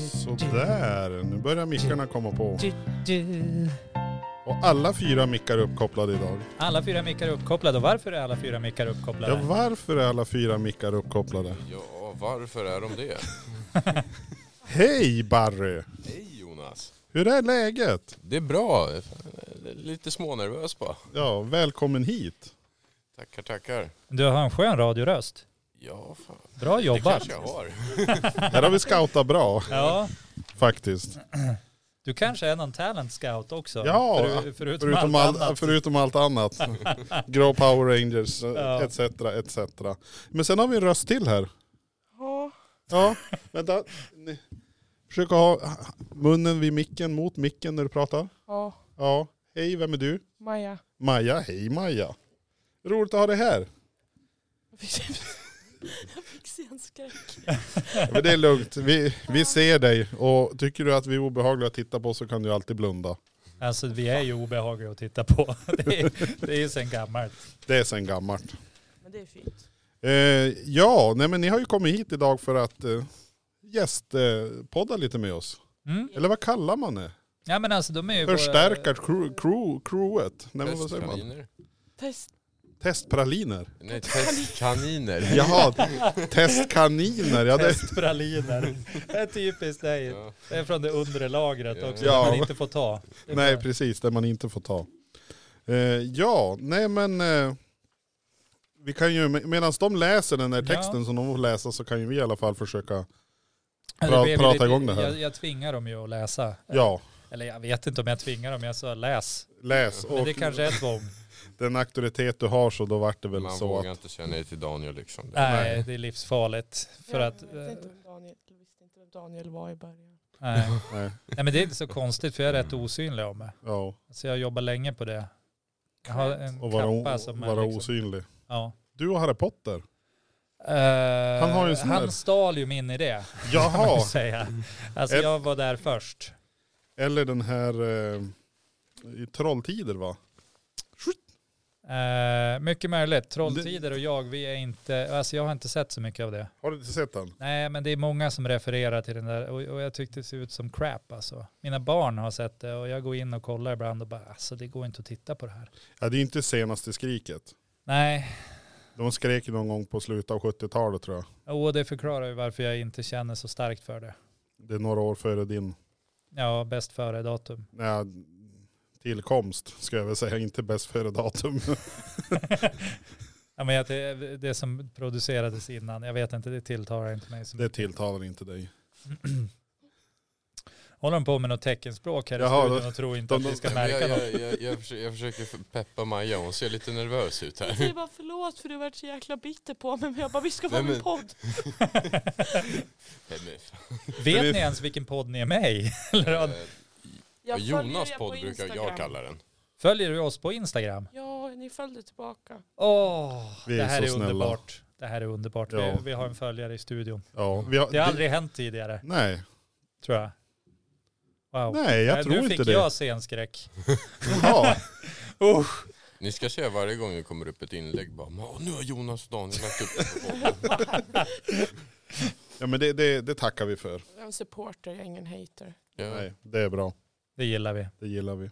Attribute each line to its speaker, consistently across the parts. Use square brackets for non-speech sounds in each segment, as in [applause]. Speaker 1: Sådär, nu börjar mickarna komma på. Och alla fyra mickar är uppkopplade idag.
Speaker 2: Alla fyra mickar är uppkopplade. Och varför är alla fyra mickar uppkopplade?
Speaker 1: Ja, varför är alla fyra mickar uppkopplade?
Speaker 3: Ja, varför är de det?
Speaker 1: Hej Barry!
Speaker 3: Hej Jonas!
Speaker 1: Hur är läget?
Speaker 3: Det är bra. Fan, Lite smånervös bara.
Speaker 1: Ja, välkommen hit.
Speaker 3: Tackar, tackar.
Speaker 2: Du har en skön radioröst.
Speaker 3: Ja, fan.
Speaker 2: Bra
Speaker 3: Det
Speaker 2: jobbat.
Speaker 3: kanske jag har.
Speaker 1: Här har vi scoutat bra
Speaker 2: Ja,
Speaker 1: faktiskt.
Speaker 2: du kanske är någon talent scout också.
Speaker 1: Ja,
Speaker 2: Föru- förutom,
Speaker 1: Förutom,
Speaker 2: allt
Speaker 1: all,
Speaker 2: annat.
Speaker 1: förutom allt
Speaker 2: [laughs]
Speaker 1: annat. Grå Power Rangers eh,
Speaker 2: Ja.
Speaker 1: etc. etc. Men sen har vi en röst till här. Ja, vänta. Ni- Försök att ha munnen vid micken, mot micken när du pratar.
Speaker 4: Ja,
Speaker 1: Ja, hej vem är du?
Speaker 4: Maja.
Speaker 1: Maja, hej Maja. Roligt att ha dig här.
Speaker 4: Jag fick- Jag fick se en skräck.
Speaker 1: Ja, Men det är lugnt, vi, vi ser dig och tycker du att vi är obehagliga att titta på så kan du alltid blunda.
Speaker 2: Alltså vi är ju obehagliga att titta på. [laughs] Det är, det är ju sen gammalt.
Speaker 1: Det är sen gammalt.
Speaker 4: Men det är fint.
Speaker 1: Eh, ja, nej men ni har ju kommit hit idag för att eh, gästpodda eh, podda lite med oss.
Speaker 2: Mm.
Speaker 1: Eller vad kallar man det?
Speaker 2: Ja men alltså de är ju... våra-
Speaker 1: Förstärkar crew, crew, crewet? Nej men vad säger man?
Speaker 3: Testkaniner.
Speaker 4: Test.
Speaker 1: Testpraliner?
Speaker 3: Nej, testkaniner.
Speaker 1: Jaha, testkaniner. Ja, det,
Speaker 2: Testpraliner. Det är typiskt dig.
Speaker 3: Ja.
Speaker 2: Det är från det undre lagret också.
Speaker 1: Ja.
Speaker 2: Ja. man inte får ta. Det är
Speaker 1: nej
Speaker 2: bra.
Speaker 1: precis, det man inte får ta. Eh, ja, nej men eh, vi kan ju, med- medan de läser den här
Speaker 2: Ja.
Speaker 1: texten som de får läsa så kan ju vi i alla fall försöka,
Speaker 2: Det
Speaker 1: pra-
Speaker 2: blev
Speaker 1: prata
Speaker 2: lite-
Speaker 1: igång det här.
Speaker 2: Jag, jag tvingar dem ju att läsa.
Speaker 1: ja,
Speaker 2: Eller jag vet inte om jag tvingar dem, jag sa läs.
Speaker 1: läs.
Speaker 2: Men
Speaker 1: Och
Speaker 2: det kanske är tvång.
Speaker 1: den auktoritet du har så då vart det väl
Speaker 3: Man
Speaker 1: så att
Speaker 3: vågar inte känna det till Daniel liksom. Det-
Speaker 2: Nej, det är livsfarligt. För
Speaker 4: jag
Speaker 2: att,
Speaker 4: vet
Speaker 2: eh,
Speaker 4: inte om Daniel, jag visste inte vem Daniel var i början.
Speaker 2: nej.
Speaker 1: Nej.
Speaker 2: nej, men det är inte så konstigt för jag är rätt osynlig av mig.
Speaker 1: Ja,
Speaker 2: Så jag jobbar länge på det. Jag har en
Speaker 1: och vara, o-
Speaker 2: kappa som är
Speaker 1: vara
Speaker 2: liksom-
Speaker 1: osynlig.
Speaker 2: Ja.
Speaker 1: Du och Harry Potter?
Speaker 2: Eh,
Speaker 1: Han har ju en sån där-
Speaker 2: han stal ju min idé. Kan man [laughs]
Speaker 1: Jaha,
Speaker 2: ju säga. Alltså
Speaker 1: Ett-
Speaker 2: jag var där först.
Speaker 1: eller den här eh, i Trolltider va?
Speaker 2: Eh, mycket möjligt. Trolltider och jag, vi är inte, alltså jag har inte sett så mycket av det.
Speaker 1: Har du inte sett den?
Speaker 2: Nej, men det är många som refererar till den där och, och jag tyckte det ser ut som crap alltså. Mina barn har sett det och jag går in och kollar ibland och bara alltså det går inte att titta på det här.
Speaker 1: Ja, det är ju inte senaste skriket.
Speaker 2: Nej,
Speaker 1: De skrek ju någon gång på slutet av 70-talet tror jag.
Speaker 2: och det förklarar ju varför jag inte känner så starkt för det.
Speaker 1: Det är några år före din
Speaker 2: Ja, bäst före datum.
Speaker 1: nej, tillkomst, ska jag väl säga. Inte bäst före datum. [laughs]
Speaker 2: Ja, men jag, det, det som producerades innan, jag vet inte, det tilltalar inte mig. så
Speaker 1: Det
Speaker 2: mycket.
Speaker 1: tilltalar inte dig.
Speaker 2: Håller de på med något teckenspråk här
Speaker 1: Jaha,
Speaker 2: i studion
Speaker 1: då-
Speaker 2: och tror inte
Speaker 1: de-
Speaker 2: att vi ska
Speaker 3: Nej, men
Speaker 2: märka
Speaker 1: [laughs]
Speaker 3: jag,
Speaker 2: något?
Speaker 3: jag, jag, jag, försöker, jag försöker peppa Maja, hon ser lite nervös ut
Speaker 4: Jag
Speaker 3: här.
Speaker 4: säger bara förlåt för du varit så jäkla bitter på mig. Men jag bara vi ska
Speaker 3: Nej,
Speaker 4: vara med
Speaker 3: men-
Speaker 4: i en podd.
Speaker 3: Nej, men fan,
Speaker 2: Vet ni ens vilken podd ni är med i? Eller, ja,
Speaker 3: eh,
Speaker 4: Jag följer
Speaker 3: Jonas
Speaker 4: er på
Speaker 3: podd brukar jag
Speaker 4: Instagram.
Speaker 3: kalla den.
Speaker 2: Följer du oss på Instagram?
Speaker 4: Ja, ni följde tillbaka.
Speaker 2: Åh,
Speaker 1: Vi är
Speaker 2: det här
Speaker 1: så
Speaker 2: är
Speaker 1: snälla.
Speaker 2: underbart. Det här är underbart.
Speaker 1: Ja.
Speaker 2: Vi, vi har en följare i studion.
Speaker 1: Ja, vi har,
Speaker 2: Det har aldrig hänt tidigare,
Speaker 1: Nej,
Speaker 2: tror jag. Wow.
Speaker 1: nej jag
Speaker 2: Nej,
Speaker 1: tror
Speaker 2: nu
Speaker 1: inte
Speaker 2: fick
Speaker 1: det.
Speaker 2: jag scenskräck. [laughs]
Speaker 1: Ja,
Speaker 2: Usch.
Speaker 3: Ni ska köra varje gång det kommer upp ett inlägg bara "Åh, nu har Jonas och Daniel lagt upp det på podden."
Speaker 1: ja men det, det, det tackar vi för.
Speaker 4: Jag är en supporter, jag är ingen hater.
Speaker 3: ja.
Speaker 1: Nej, det är bra.
Speaker 2: Det gillar vi.
Speaker 1: Det gillar vi.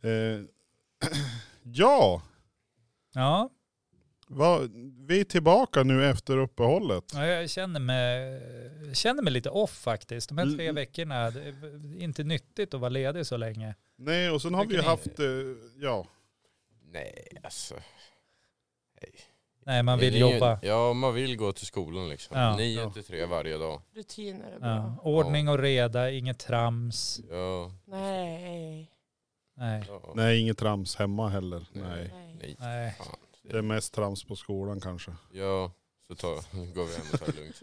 Speaker 1: Eh, [clears throat] ja,
Speaker 2: Ja,
Speaker 1: vad- vi är tillbaka nu efter uppehållet.
Speaker 2: ja, jag känner mig, känner mig lite off faktiskt. De här tre
Speaker 1: Mm.
Speaker 2: veckorna, det är inte nyttigt att vara ledig så länge.
Speaker 1: Nej, och sen har vi ju
Speaker 2: Tycker ni?
Speaker 1: haft, eh, ja,
Speaker 3: Nej, alltså.
Speaker 2: Nej, man vill
Speaker 3: Ni-
Speaker 2: jobba.
Speaker 3: Ja, man vill gå till skolan liksom.
Speaker 2: Ja.
Speaker 3: Nio
Speaker 1: Ja.
Speaker 3: till tre varje dag.
Speaker 4: Rutiner är bra.
Speaker 2: Ja. Ordning och reda, inget trams.
Speaker 3: Ja,
Speaker 4: Nej.
Speaker 2: Nej.
Speaker 3: ja.
Speaker 1: nej inget trams hemma heller. Nej.
Speaker 4: Nej.
Speaker 3: Nej.
Speaker 2: Nej.
Speaker 3: Fan.
Speaker 1: Det är mest trams på skolan kanske.
Speaker 3: Ja, så tar, [laughs] nu går vi hem och tar det lugnt.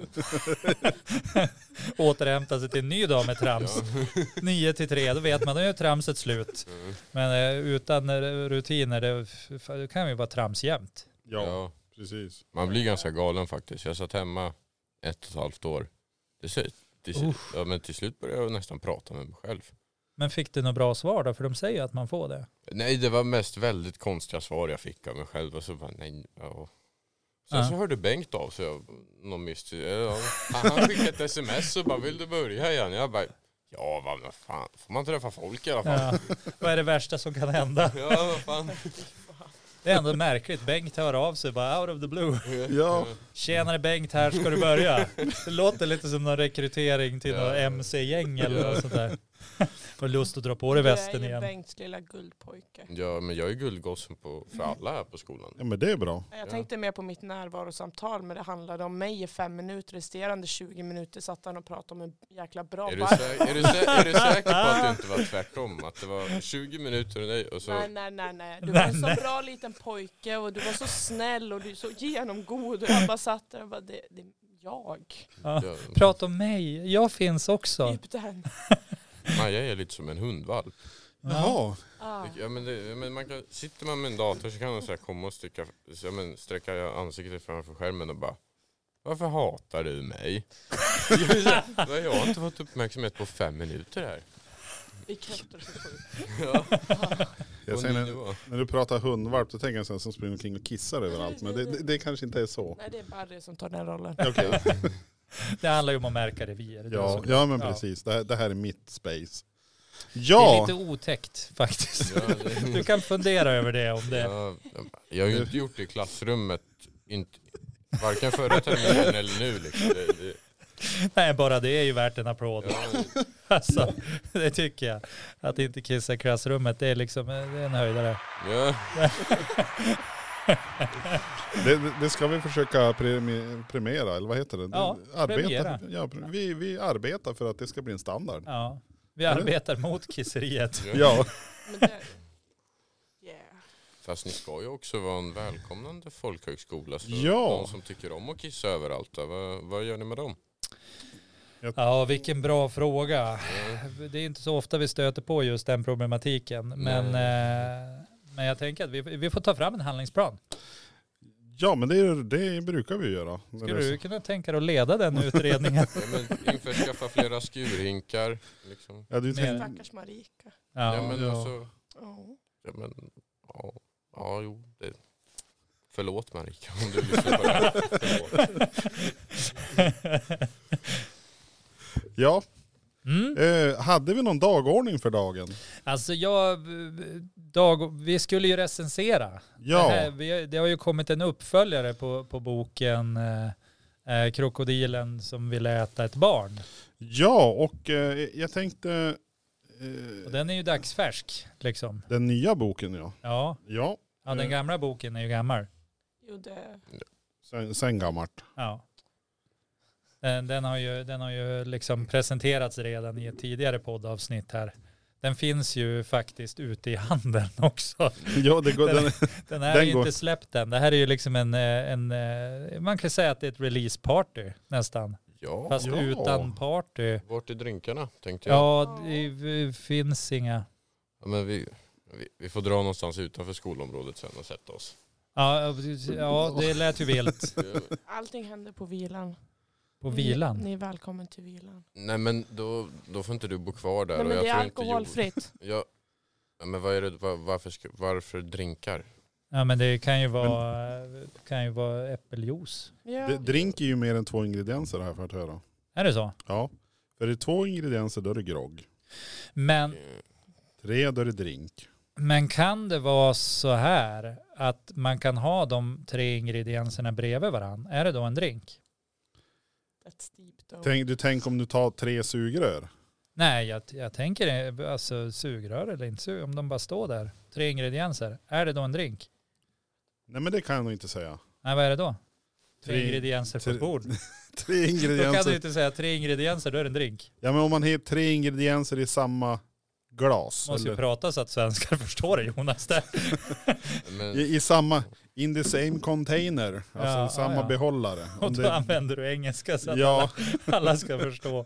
Speaker 2: Återhämta sig till en ny dag med [laughs] trams.
Speaker 3: Ja.
Speaker 2: Nio till tre, då vet man, då är tramset slut.
Speaker 3: Mm.
Speaker 2: Men eh, utan eh, rutiner, det, f- det kan ju vara trams jämt.
Speaker 1: Ja,
Speaker 3: ja,
Speaker 1: precis.
Speaker 3: man blir ganska galen faktiskt. Jag satt hemma ett och ett halvt år. Det ser, det ser,
Speaker 2: Usch.
Speaker 3: ja, men till slut började jag nästan prata med mig själv.
Speaker 2: Men fick du något bra svar då? För de säger ju att man får det.
Speaker 3: Nej, det var mest väldigt konstiga svar jag fick av mig själv. Och så bara, nej, ja. Sen så
Speaker 2: Ja.
Speaker 3: hörde Bengt av sig av någon mystisk... ja, Han han skickade ett sms och bara vill du börja igen? Jag bara ja vad vad fan, får man träffa folk i alla fall?
Speaker 2: Ja. Vad är det värsta som kan hända?
Speaker 3: Ja, vad fan.
Speaker 2: Det är ändå märkligt. Bengt hör av sig bara out of the blue.
Speaker 1: Ja.
Speaker 2: Tjenare Bengt, här ska du börja. [laughs] Det låter lite som någon rekrytering till
Speaker 3: Ja.
Speaker 2: något MC-gäng eller något sånt där. Har lust att dra på dig västen
Speaker 4: Du är ju
Speaker 2: igen.
Speaker 4: Bengts lilla guldpojke.
Speaker 3: Ja men jag är guldgossen på, för alla här på skolan.
Speaker 1: ja, men det är bra.
Speaker 4: Jag
Speaker 3: Ja.
Speaker 4: tänkte mer på mitt närvarosamtal men det handlade om mig i fem minuter. Resterande 20 minuter satt han och pratade om en jäkla bra
Speaker 3: Är du,
Speaker 4: bar.
Speaker 3: sä- är, du sä- är du säker på att det inte var tvärtom? Att det var 20 minuter och nej och så...
Speaker 4: Nej, nej, nej, nej. Du
Speaker 2: Nej,
Speaker 4: var en så
Speaker 2: nej.
Speaker 4: bra liten pojke och du var så snäll och du är så genomgod. Och jag bara satt där och bara, det, det är jag.
Speaker 3: Ja.
Speaker 2: Prata om mig, jag finns också.
Speaker 4: Typ den.
Speaker 3: Maja är lite som en hundvalp.
Speaker 1: Jaha.
Speaker 4: Ah.
Speaker 3: Ja, men det, men man kan, sitter man med en dator så kan man så här komma och sticka, så, ja, men, sträcka ansiktet framför skärmen och bara Varför hatar du mig? [laughs] Jag är så här, jag har inte fått uppmärksamhet på fem minuter här.
Speaker 4: Vi kräftor så sjukt.
Speaker 3: Ja,
Speaker 1: Jag
Speaker 3: [laughs] på
Speaker 1: säger,
Speaker 3: ny
Speaker 1: när,
Speaker 3: nivå.
Speaker 1: när du pratar hundvalp då tänker jag sen som springer omkring och kissar överallt. Men det, det, det kanske inte är så.
Speaker 4: Nej, det är Barry som tar den rollen.
Speaker 2: [laughs]
Speaker 1: Okej.
Speaker 2: Det handlar ju om att märka revir.
Speaker 1: Ja, ja men
Speaker 2: Ja.
Speaker 1: precis. Det här, det här är mitt space.
Speaker 2: Det är
Speaker 1: Ja,
Speaker 2: lite otäckt faktiskt.
Speaker 3: Ja,
Speaker 2: Du kan fundera över det om det.
Speaker 3: ja, jag har ju inte gjort det i klassrummet. Inte, varken förra terminen eller nu. Liksom. Det, det,
Speaker 2: Nej, bara det är ju värt en applåd. Alltså, det tycker jag. Att inte kissa i klassrummet, det är liksom det är en höjdare.
Speaker 3: ja, ja,
Speaker 1: det, det ska vi försöka premi- premiera, eller vad heter det?
Speaker 2: Ja,
Speaker 1: arbeta,
Speaker 2: premiera.
Speaker 1: ja, pre- vi, vi arbetar för att det ska bli en standard.
Speaker 2: Ja. Vi arbetar mot kisseriet.
Speaker 1: Ja,
Speaker 4: Men det, yeah.
Speaker 3: Fast ni ska ju också vara en välkomnande folkhögskola. Så
Speaker 1: Ja.
Speaker 3: De som tycker om att kissa överallt, då, vad, vad gör ni med dem?
Speaker 2: Ja, vilken bra fråga. Det är inte så ofta vi stöter på just den problematiken. Men, eh, men jag tänker att vi, vi får ta fram en handlingsplan.
Speaker 1: ja men det, är- det brukar vi göra.
Speaker 2: Skulle du kunna tänka dig att leda den utredningen?
Speaker 3: Ja, men införskaffa flera skurhinkar. Liksom.
Speaker 1: Ja, du
Speaker 2: Mer-
Speaker 1: tänkte,
Speaker 4: Stackars Marika.
Speaker 3: [laughs] Ja, men
Speaker 2: ja.
Speaker 3: alltså,
Speaker 4: Ja.
Speaker 3: ja, men, ja, ja jo. Det. Förlåt Marika om du lyssnar på det här.
Speaker 2: [laughs]
Speaker 3: Förlåt.
Speaker 1: ja.
Speaker 2: Mm.
Speaker 1: Eh, hade vi någon dagordning för dagen?
Speaker 2: Alltså jag, Dag, vi skulle ju recensera. Det, här,
Speaker 1: Ja,
Speaker 2: vi, det har ju kommit en uppföljare på, på boken eh, eh, Krokodilen som ville äta ett barn.
Speaker 1: ja och eh, jag tänkte
Speaker 2: Och
Speaker 1: eh,
Speaker 2: den är ju dagsfärsk liksom.
Speaker 1: den nya boken ja.
Speaker 2: Ja,
Speaker 1: Ja,
Speaker 2: ja den
Speaker 1: Mm.
Speaker 2: gamla boken är ju gammal.
Speaker 4: Jo, det,
Speaker 1: sen, sen gammalt.
Speaker 2: Ja. Den, den, har ju, den har ju liksom presenterats redan i ett tidigare poddavsnitt här. Den finns ju faktiskt ute i handeln [laughs] också.
Speaker 1: [laughs] Ja, det går, den,
Speaker 2: Den här
Speaker 1: Den
Speaker 2: är ju
Speaker 1: går-
Speaker 2: inte släppt än. Det här är ju liksom en, eh, en, eh, man kan säga att det är ett release party nästan.
Speaker 3: Ja,
Speaker 2: Fast
Speaker 1: Ja.
Speaker 2: utan party.
Speaker 3: vart är drinkarna tänkte jag.
Speaker 2: Ja, det v- finns inga.
Speaker 3: Ja, men vi, vi, vi får dra någonstans utanför skolområdet sen och
Speaker 2: [laughs]
Speaker 3: sätta oss.
Speaker 2: Ja, precis. ja det lät ju vilt
Speaker 3: Ja.
Speaker 4: allting händer på vilan.
Speaker 2: på vilan.
Speaker 4: [laughs] Ni, ni är välkommen till vilan.
Speaker 3: Nej men då, då får inte du bo kvar där.
Speaker 4: Nej,
Speaker 3: och
Speaker 4: men
Speaker 3: jag
Speaker 4: det är
Speaker 3: tror inte Joel-
Speaker 4: alkoholfritt.
Speaker 3: [laughs] Ja, ja, men vad är det, var, varför, ska- varför drinkar?
Speaker 2: Ja, men det kan ju vara, kan ju vara äppeljuice.
Speaker 4: Ja.
Speaker 1: det, drink är ju mer än två ingredienser har jag fått höra.
Speaker 2: Är det så?
Speaker 1: Ja, för det är två ingredienser då är det grogg.
Speaker 2: Men
Speaker 3: Eh,
Speaker 1: Tre då är det drink.
Speaker 2: Men kan det vara så här att man kan ha de tre ingredienserna bredvid varandra? Är det då en drink?
Speaker 4: That's deep though.
Speaker 1: Tänk, du tänk om du tar tre sugrör.
Speaker 2: Nej, jag, jag tänker eh, alltså sugrör eller inte sugrör, om de bara står där. Tre ingredienser, är det då en drink?
Speaker 1: Nej men det kan jag nog inte säga.
Speaker 2: Nej, vad är det då? Tre,
Speaker 1: Tre-
Speaker 2: ingredienser på
Speaker 1: tre- [laughs]
Speaker 2: ett bord.
Speaker 1: Tre
Speaker 2: Då kan du
Speaker 1: ingredienser.
Speaker 2: inte säga tre ingredienser, då är det en drink.
Speaker 1: Ja men om man hittar tre ingredienser i samma glas.
Speaker 2: Måste ju
Speaker 1: Eller,
Speaker 2: prata så att svenskar [laughs] förstår det Jonas. Där.
Speaker 3: Men,
Speaker 1: i, I samma, in the same container. Alltså
Speaker 2: Ja,
Speaker 1: i samma
Speaker 2: ja, ja.
Speaker 1: behållare.
Speaker 2: [laughs] Och
Speaker 1: Om
Speaker 2: då
Speaker 1: det,
Speaker 2: använder du engelska så att
Speaker 1: ja,
Speaker 2: alla, alla ska förstå.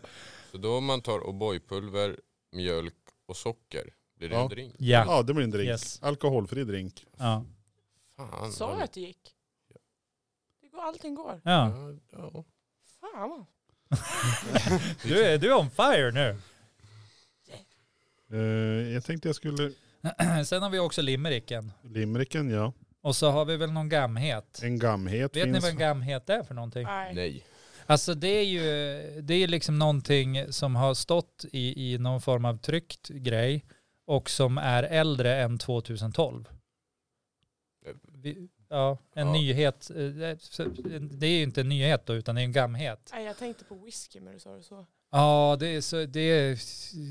Speaker 3: så då om man tar O'boy-pulver, mjölk och socker, blir det
Speaker 1: Ja.
Speaker 3: en drink?
Speaker 2: Ja,
Speaker 1: [laughs] ja det blir en drink.
Speaker 2: Yes.
Speaker 1: Alkoholfri drink.
Speaker 2: ja.
Speaker 3: Fan.
Speaker 4: Sa
Speaker 3: vad-
Speaker 4: jag att det gick? Det går, allting går.
Speaker 2: ja.
Speaker 3: Ja, ja.
Speaker 4: Fan vad.
Speaker 2: Du, är, du är on fire nu. [clears throat]
Speaker 1: Eh, jag tänkte jag skulle,
Speaker 2: Sen har vi också limericken.
Speaker 1: limericken ja.
Speaker 2: Och så har vi väl någon gamhet.
Speaker 1: En gamhet
Speaker 2: Vet ni
Speaker 1: finns.
Speaker 2: vad en gamhet är för någonting?
Speaker 4: Nej.
Speaker 3: Nej.
Speaker 2: Alltså det är ju det är liksom någonting som har stått i, i någon form av tryckt grej och som är äldre än 2012. Vi, ja, en
Speaker 3: Ja.
Speaker 2: nyhet. eh, det- Det är ju inte en nyhet då, utan det är en gamhet.
Speaker 4: Nej, jag tänkte på whisky men du sa det så.
Speaker 2: Ja, det är, så, det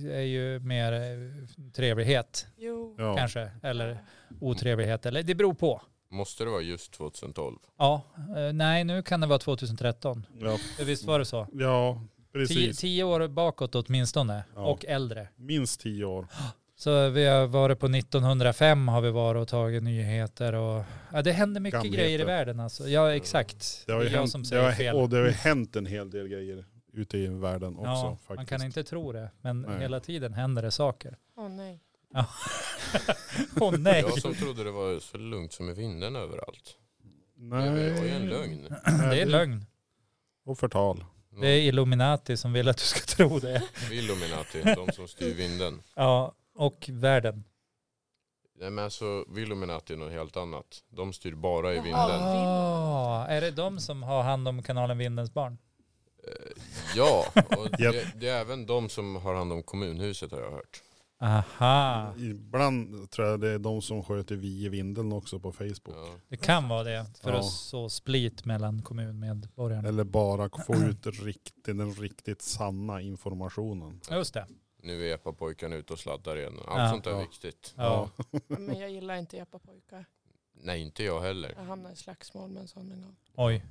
Speaker 2: är ju mer eh, trevlighet
Speaker 4: Jo.
Speaker 1: Ja.
Speaker 2: kanske, eller otrevlighet, eller det beror på.
Speaker 3: Måste det vara just 2012?
Speaker 2: Ja, eh, nej nu kan det vara 2013.
Speaker 1: Ja,
Speaker 2: Visst var det så?
Speaker 1: ja
Speaker 2: Tio,
Speaker 1: precis.
Speaker 2: tio år bakåt åtminstone,
Speaker 1: Ja.
Speaker 2: och äldre.
Speaker 1: Minst tio år.
Speaker 2: Så vi har varit på 1905 har vi varit och tagit nyheter och ja, det händer mycket
Speaker 1: Gamheter.
Speaker 2: grejer i världen alltså. Ja exakt.
Speaker 1: Det har ju
Speaker 2: är jag
Speaker 1: hänt,
Speaker 2: som
Speaker 1: det har,
Speaker 2: säger fel.
Speaker 1: Och det har ju hänt en hel del grejer ute i världen också.
Speaker 2: ja,
Speaker 1: faktiskt.
Speaker 2: man kan inte tro det, men
Speaker 1: Nej.
Speaker 2: hela tiden händer det saker.
Speaker 1: [laughs]
Speaker 4: Åh nej.
Speaker 2: Åh nej.
Speaker 3: Jag som trodde det var så lugnt som i vinden överallt.
Speaker 1: Nej.
Speaker 3: Det var ju en lögn.
Speaker 2: [laughs] Det är lögn.
Speaker 1: Och förtal.
Speaker 2: Det är Illuminati som vill att du ska [laughs] tro det.
Speaker 3: Illuminati, de som styr vinden.
Speaker 2: Ja, och världen.
Speaker 3: Nej men alltså, Illuminati är något helt annat. De styr bara i
Speaker 4: Jaha.
Speaker 3: vinden.
Speaker 2: Ah, är det de som har hand om kanalen Vindens barn?
Speaker 3: Eh, Ja,
Speaker 1: [laughs]
Speaker 3: och det,
Speaker 1: Japp.
Speaker 3: det är även de som har hand om kommunhuset har jag hört.
Speaker 2: Aha,
Speaker 1: Ibland tror jag det är de som sköter vi i vindeln också på Facebook.
Speaker 3: Ja.
Speaker 2: det kan vara det. För
Speaker 1: Ja.
Speaker 2: att så split mellan kommunmedborgarna.
Speaker 1: Eller bara få ut riktigt, den riktigt sanna informationen.
Speaker 2: Just det.
Speaker 3: Nu är EPA-pojkarna ute och sladdar igen. Allt
Speaker 2: Ja.
Speaker 3: sånt där är
Speaker 1: Ja.
Speaker 3: viktigt.
Speaker 2: Ja.
Speaker 4: Men jag gillar inte epapojkar.
Speaker 3: Nej, inte jag heller.
Speaker 4: Jag hamnade i slagsmål med en sån en gång.
Speaker 2: Oj.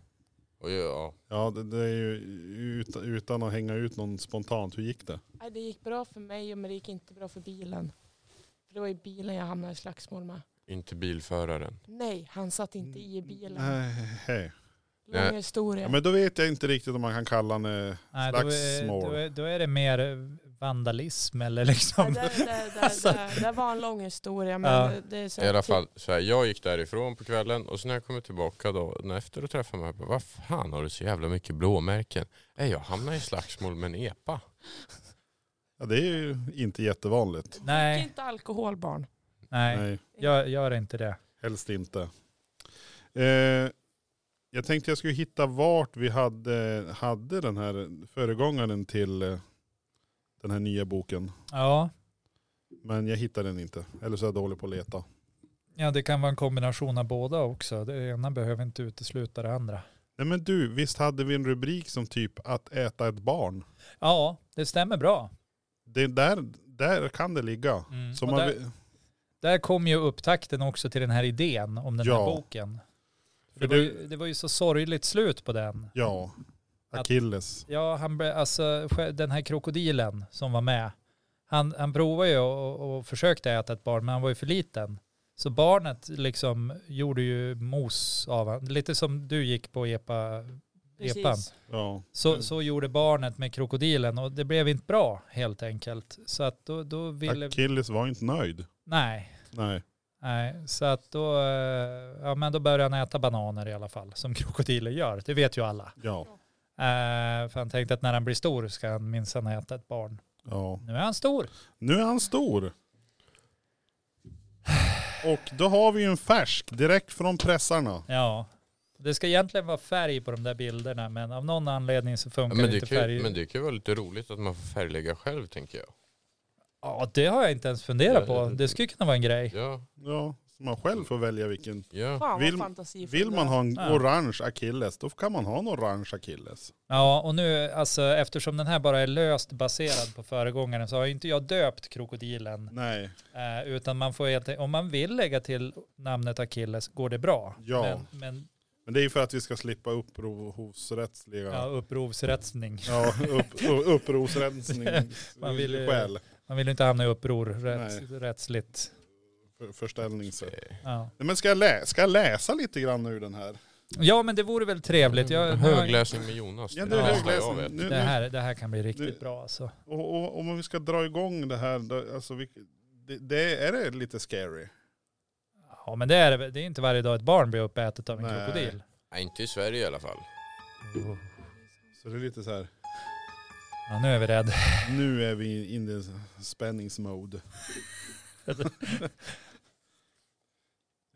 Speaker 3: Och ja,
Speaker 1: Ja, det, det är ju utan, utan att hänga ut någon spontant. Hur gick det?
Speaker 4: Nej, det gick bra för mig men det gick inte bra för bilen. För det var ju bilen jag hamnade i slagsmål med.
Speaker 3: inte bilföraren.
Speaker 4: Nej, han satt inte i
Speaker 2: Mm,
Speaker 4: bilen.
Speaker 1: Nej. hej.
Speaker 4: Lång
Speaker 3: Nej.
Speaker 1: Ja,
Speaker 4: historia.
Speaker 1: men då vet jag inte riktigt om man kan kalla henne...
Speaker 2: Nej, då, är,
Speaker 1: Slagsmål.
Speaker 2: då, är, då är det mer vandalism eller liksom.
Speaker 4: Nej, där, där,
Speaker 2: [laughs]
Speaker 4: där,
Speaker 2: Alltså.
Speaker 4: där, där var en lång historia men
Speaker 2: Ja.
Speaker 4: det, det är så
Speaker 3: I alla
Speaker 4: här typ-
Speaker 3: fall, så här, jag gick därifrån på kvällen och så när jag kommer tillbaka då, efter och träffade mig, jag bara, vad fan har du så jävla mycket blåmärken? Nej, jag hamnade i slagsmål med en EPA.
Speaker 1: Ja, det är ju inte jättevanligt.
Speaker 4: Drick
Speaker 2: Nej,
Speaker 4: inte alkohol barn.
Speaker 2: nej, gör, gör inte det.
Speaker 1: Helst inte. Eh, jag tänkte jag skulle hitta vart vi hade, hade den här föregångaren till eh, den här nya boken.
Speaker 2: Ja,
Speaker 1: Men jag hittade den inte. Eller så är jag dålig på att leta.
Speaker 2: ja, det kan vara en kombination av båda också. Det ena behöver inte utesluta det andra.
Speaker 1: Nej men du, visst hade vi en rubrik som typ att äta ett barn?
Speaker 2: Ja, det stämmer bra.
Speaker 1: Det är där, där kan det ligga.
Speaker 2: Mm.
Speaker 1: Så
Speaker 2: Och
Speaker 1: man,
Speaker 2: där,
Speaker 1: vi-
Speaker 2: där kom ju upptakten också till den här idén om den
Speaker 1: Ja.
Speaker 2: här boken. För det,
Speaker 1: För
Speaker 2: var
Speaker 1: du-
Speaker 2: ju, det var ju så sorgligt slut på den.
Speaker 1: ja,
Speaker 2: Att-
Speaker 1: Achilles.
Speaker 2: Ja, han, ble- alltså, sj- den här krokodilen som var med, han, han provade ju och, och försökte äta ett barn, men han var ju för liten. Så barnet liksom gjorde ju mos av honom. Lite som du gick på epa, epan.
Speaker 4: Precis.
Speaker 1: Ja.
Speaker 2: Så,
Speaker 1: Mm.
Speaker 2: så gjorde barnet med krokodilen och det blev inte bra helt enkelt. Så att då, då ville...
Speaker 1: Achilles var inte nöjd.
Speaker 2: Nej.
Speaker 1: Nej.
Speaker 2: Nej, så att då, eh, ja, men då började han äta bananer i alla fall, som [laughs] krokodiler gör. Det vet ju alla.
Speaker 1: Ja.
Speaker 2: Eh, för han tänkte att när han blir stor ska han minsann äta ett barn.
Speaker 1: ja.
Speaker 2: Nu är han stor.
Speaker 1: Nu är han stor. Och då har vi ju en färsk direkt från pressarna.
Speaker 2: Ja. Det ska egentligen vara färg på de där bilderna men av någon anledning så funkar
Speaker 3: Men det,
Speaker 2: inte
Speaker 3: kan, ju-
Speaker 2: färg.
Speaker 3: men det kan ju vara lite roligt att man får färglägga själv tänker jag.
Speaker 2: Ja det har jag inte ens funderat
Speaker 3: Ja,
Speaker 2: på.
Speaker 3: det-
Speaker 2: Det skulle kunna vara en grej.
Speaker 3: Ja,
Speaker 1: Ja, så man själv får välja vilken.
Speaker 3: ja.
Speaker 4: Fan
Speaker 1: Vill-
Speaker 4: vad fantasifull
Speaker 1: Vill
Speaker 4: du
Speaker 1: man
Speaker 4: är.
Speaker 1: ha en
Speaker 2: Ja.
Speaker 1: orange Achilles, då kan man ha en orange Achilles.
Speaker 2: Ja och nu alltså eftersom den här bara är löst baserad på föregångaren så har ju inte jag döpt krokodilen.
Speaker 1: Nej,
Speaker 2: Eh, utan man får helt, om man vill lägga till namnet Achilles går det bra.
Speaker 1: Ja.
Speaker 2: Men, men
Speaker 1: men det är ju för att vi ska slippa upphovsrättsliga...
Speaker 2: ja,
Speaker 1: Ja.
Speaker 2: upprovsrensning.
Speaker 1: Ja, upp, u- upprovsrensning.
Speaker 2: Man vill ju-
Speaker 1: Skäl.
Speaker 2: Man vill ju inte hamna i uppror rätts,
Speaker 1: Nej.
Speaker 2: rättsligt.
Speaker 1: För, förställningsrätt.
Speaker 3: Eh,
Speaker 2: Ja.
Speaker 1: Nej, men ska jag, lä- ska jag läsa lite grann ur den här?
Speaker 2: ja men det vore väl trevligt. Jag,
Speaker 3: mm, Högläsning med Jonas.
Speaker 1: Ja,
Speaker 3: är
Speaker 1: det är
Speaker 2: Ja.
Speaker 3: bästa jag
Speaker 1: högläsning.
Speaker 3: vet.
Speaker 1: Nu,
Speaker 2: Det
Speaker 1: nu,
Speaker 2: här, det här kan bli riktigt
Speaker 1: Nu-
Speaker 2: bra alltså.
Speaker 1: och, och, om vi ska dra igång det här, då, alltså, vi, det, det, är det lite scary?
Speaker 2: Ja men det är det väl. det är inte varje dag ett barn blir uppätet av en
Speaker 1: Nej.
Speaker 2: krokodil.
Speaker 3: Nej, inte i Sverige i alla fall.
Speaker 1: Så det är lite så här,
Speaker 2: Ja nu är
Speaker 1: [laughs]
Speaker 2: vi rädd.
Speaker 1: nu är vi in i
Speaker 2: [laughs]
Speaker 1: spänningsmode.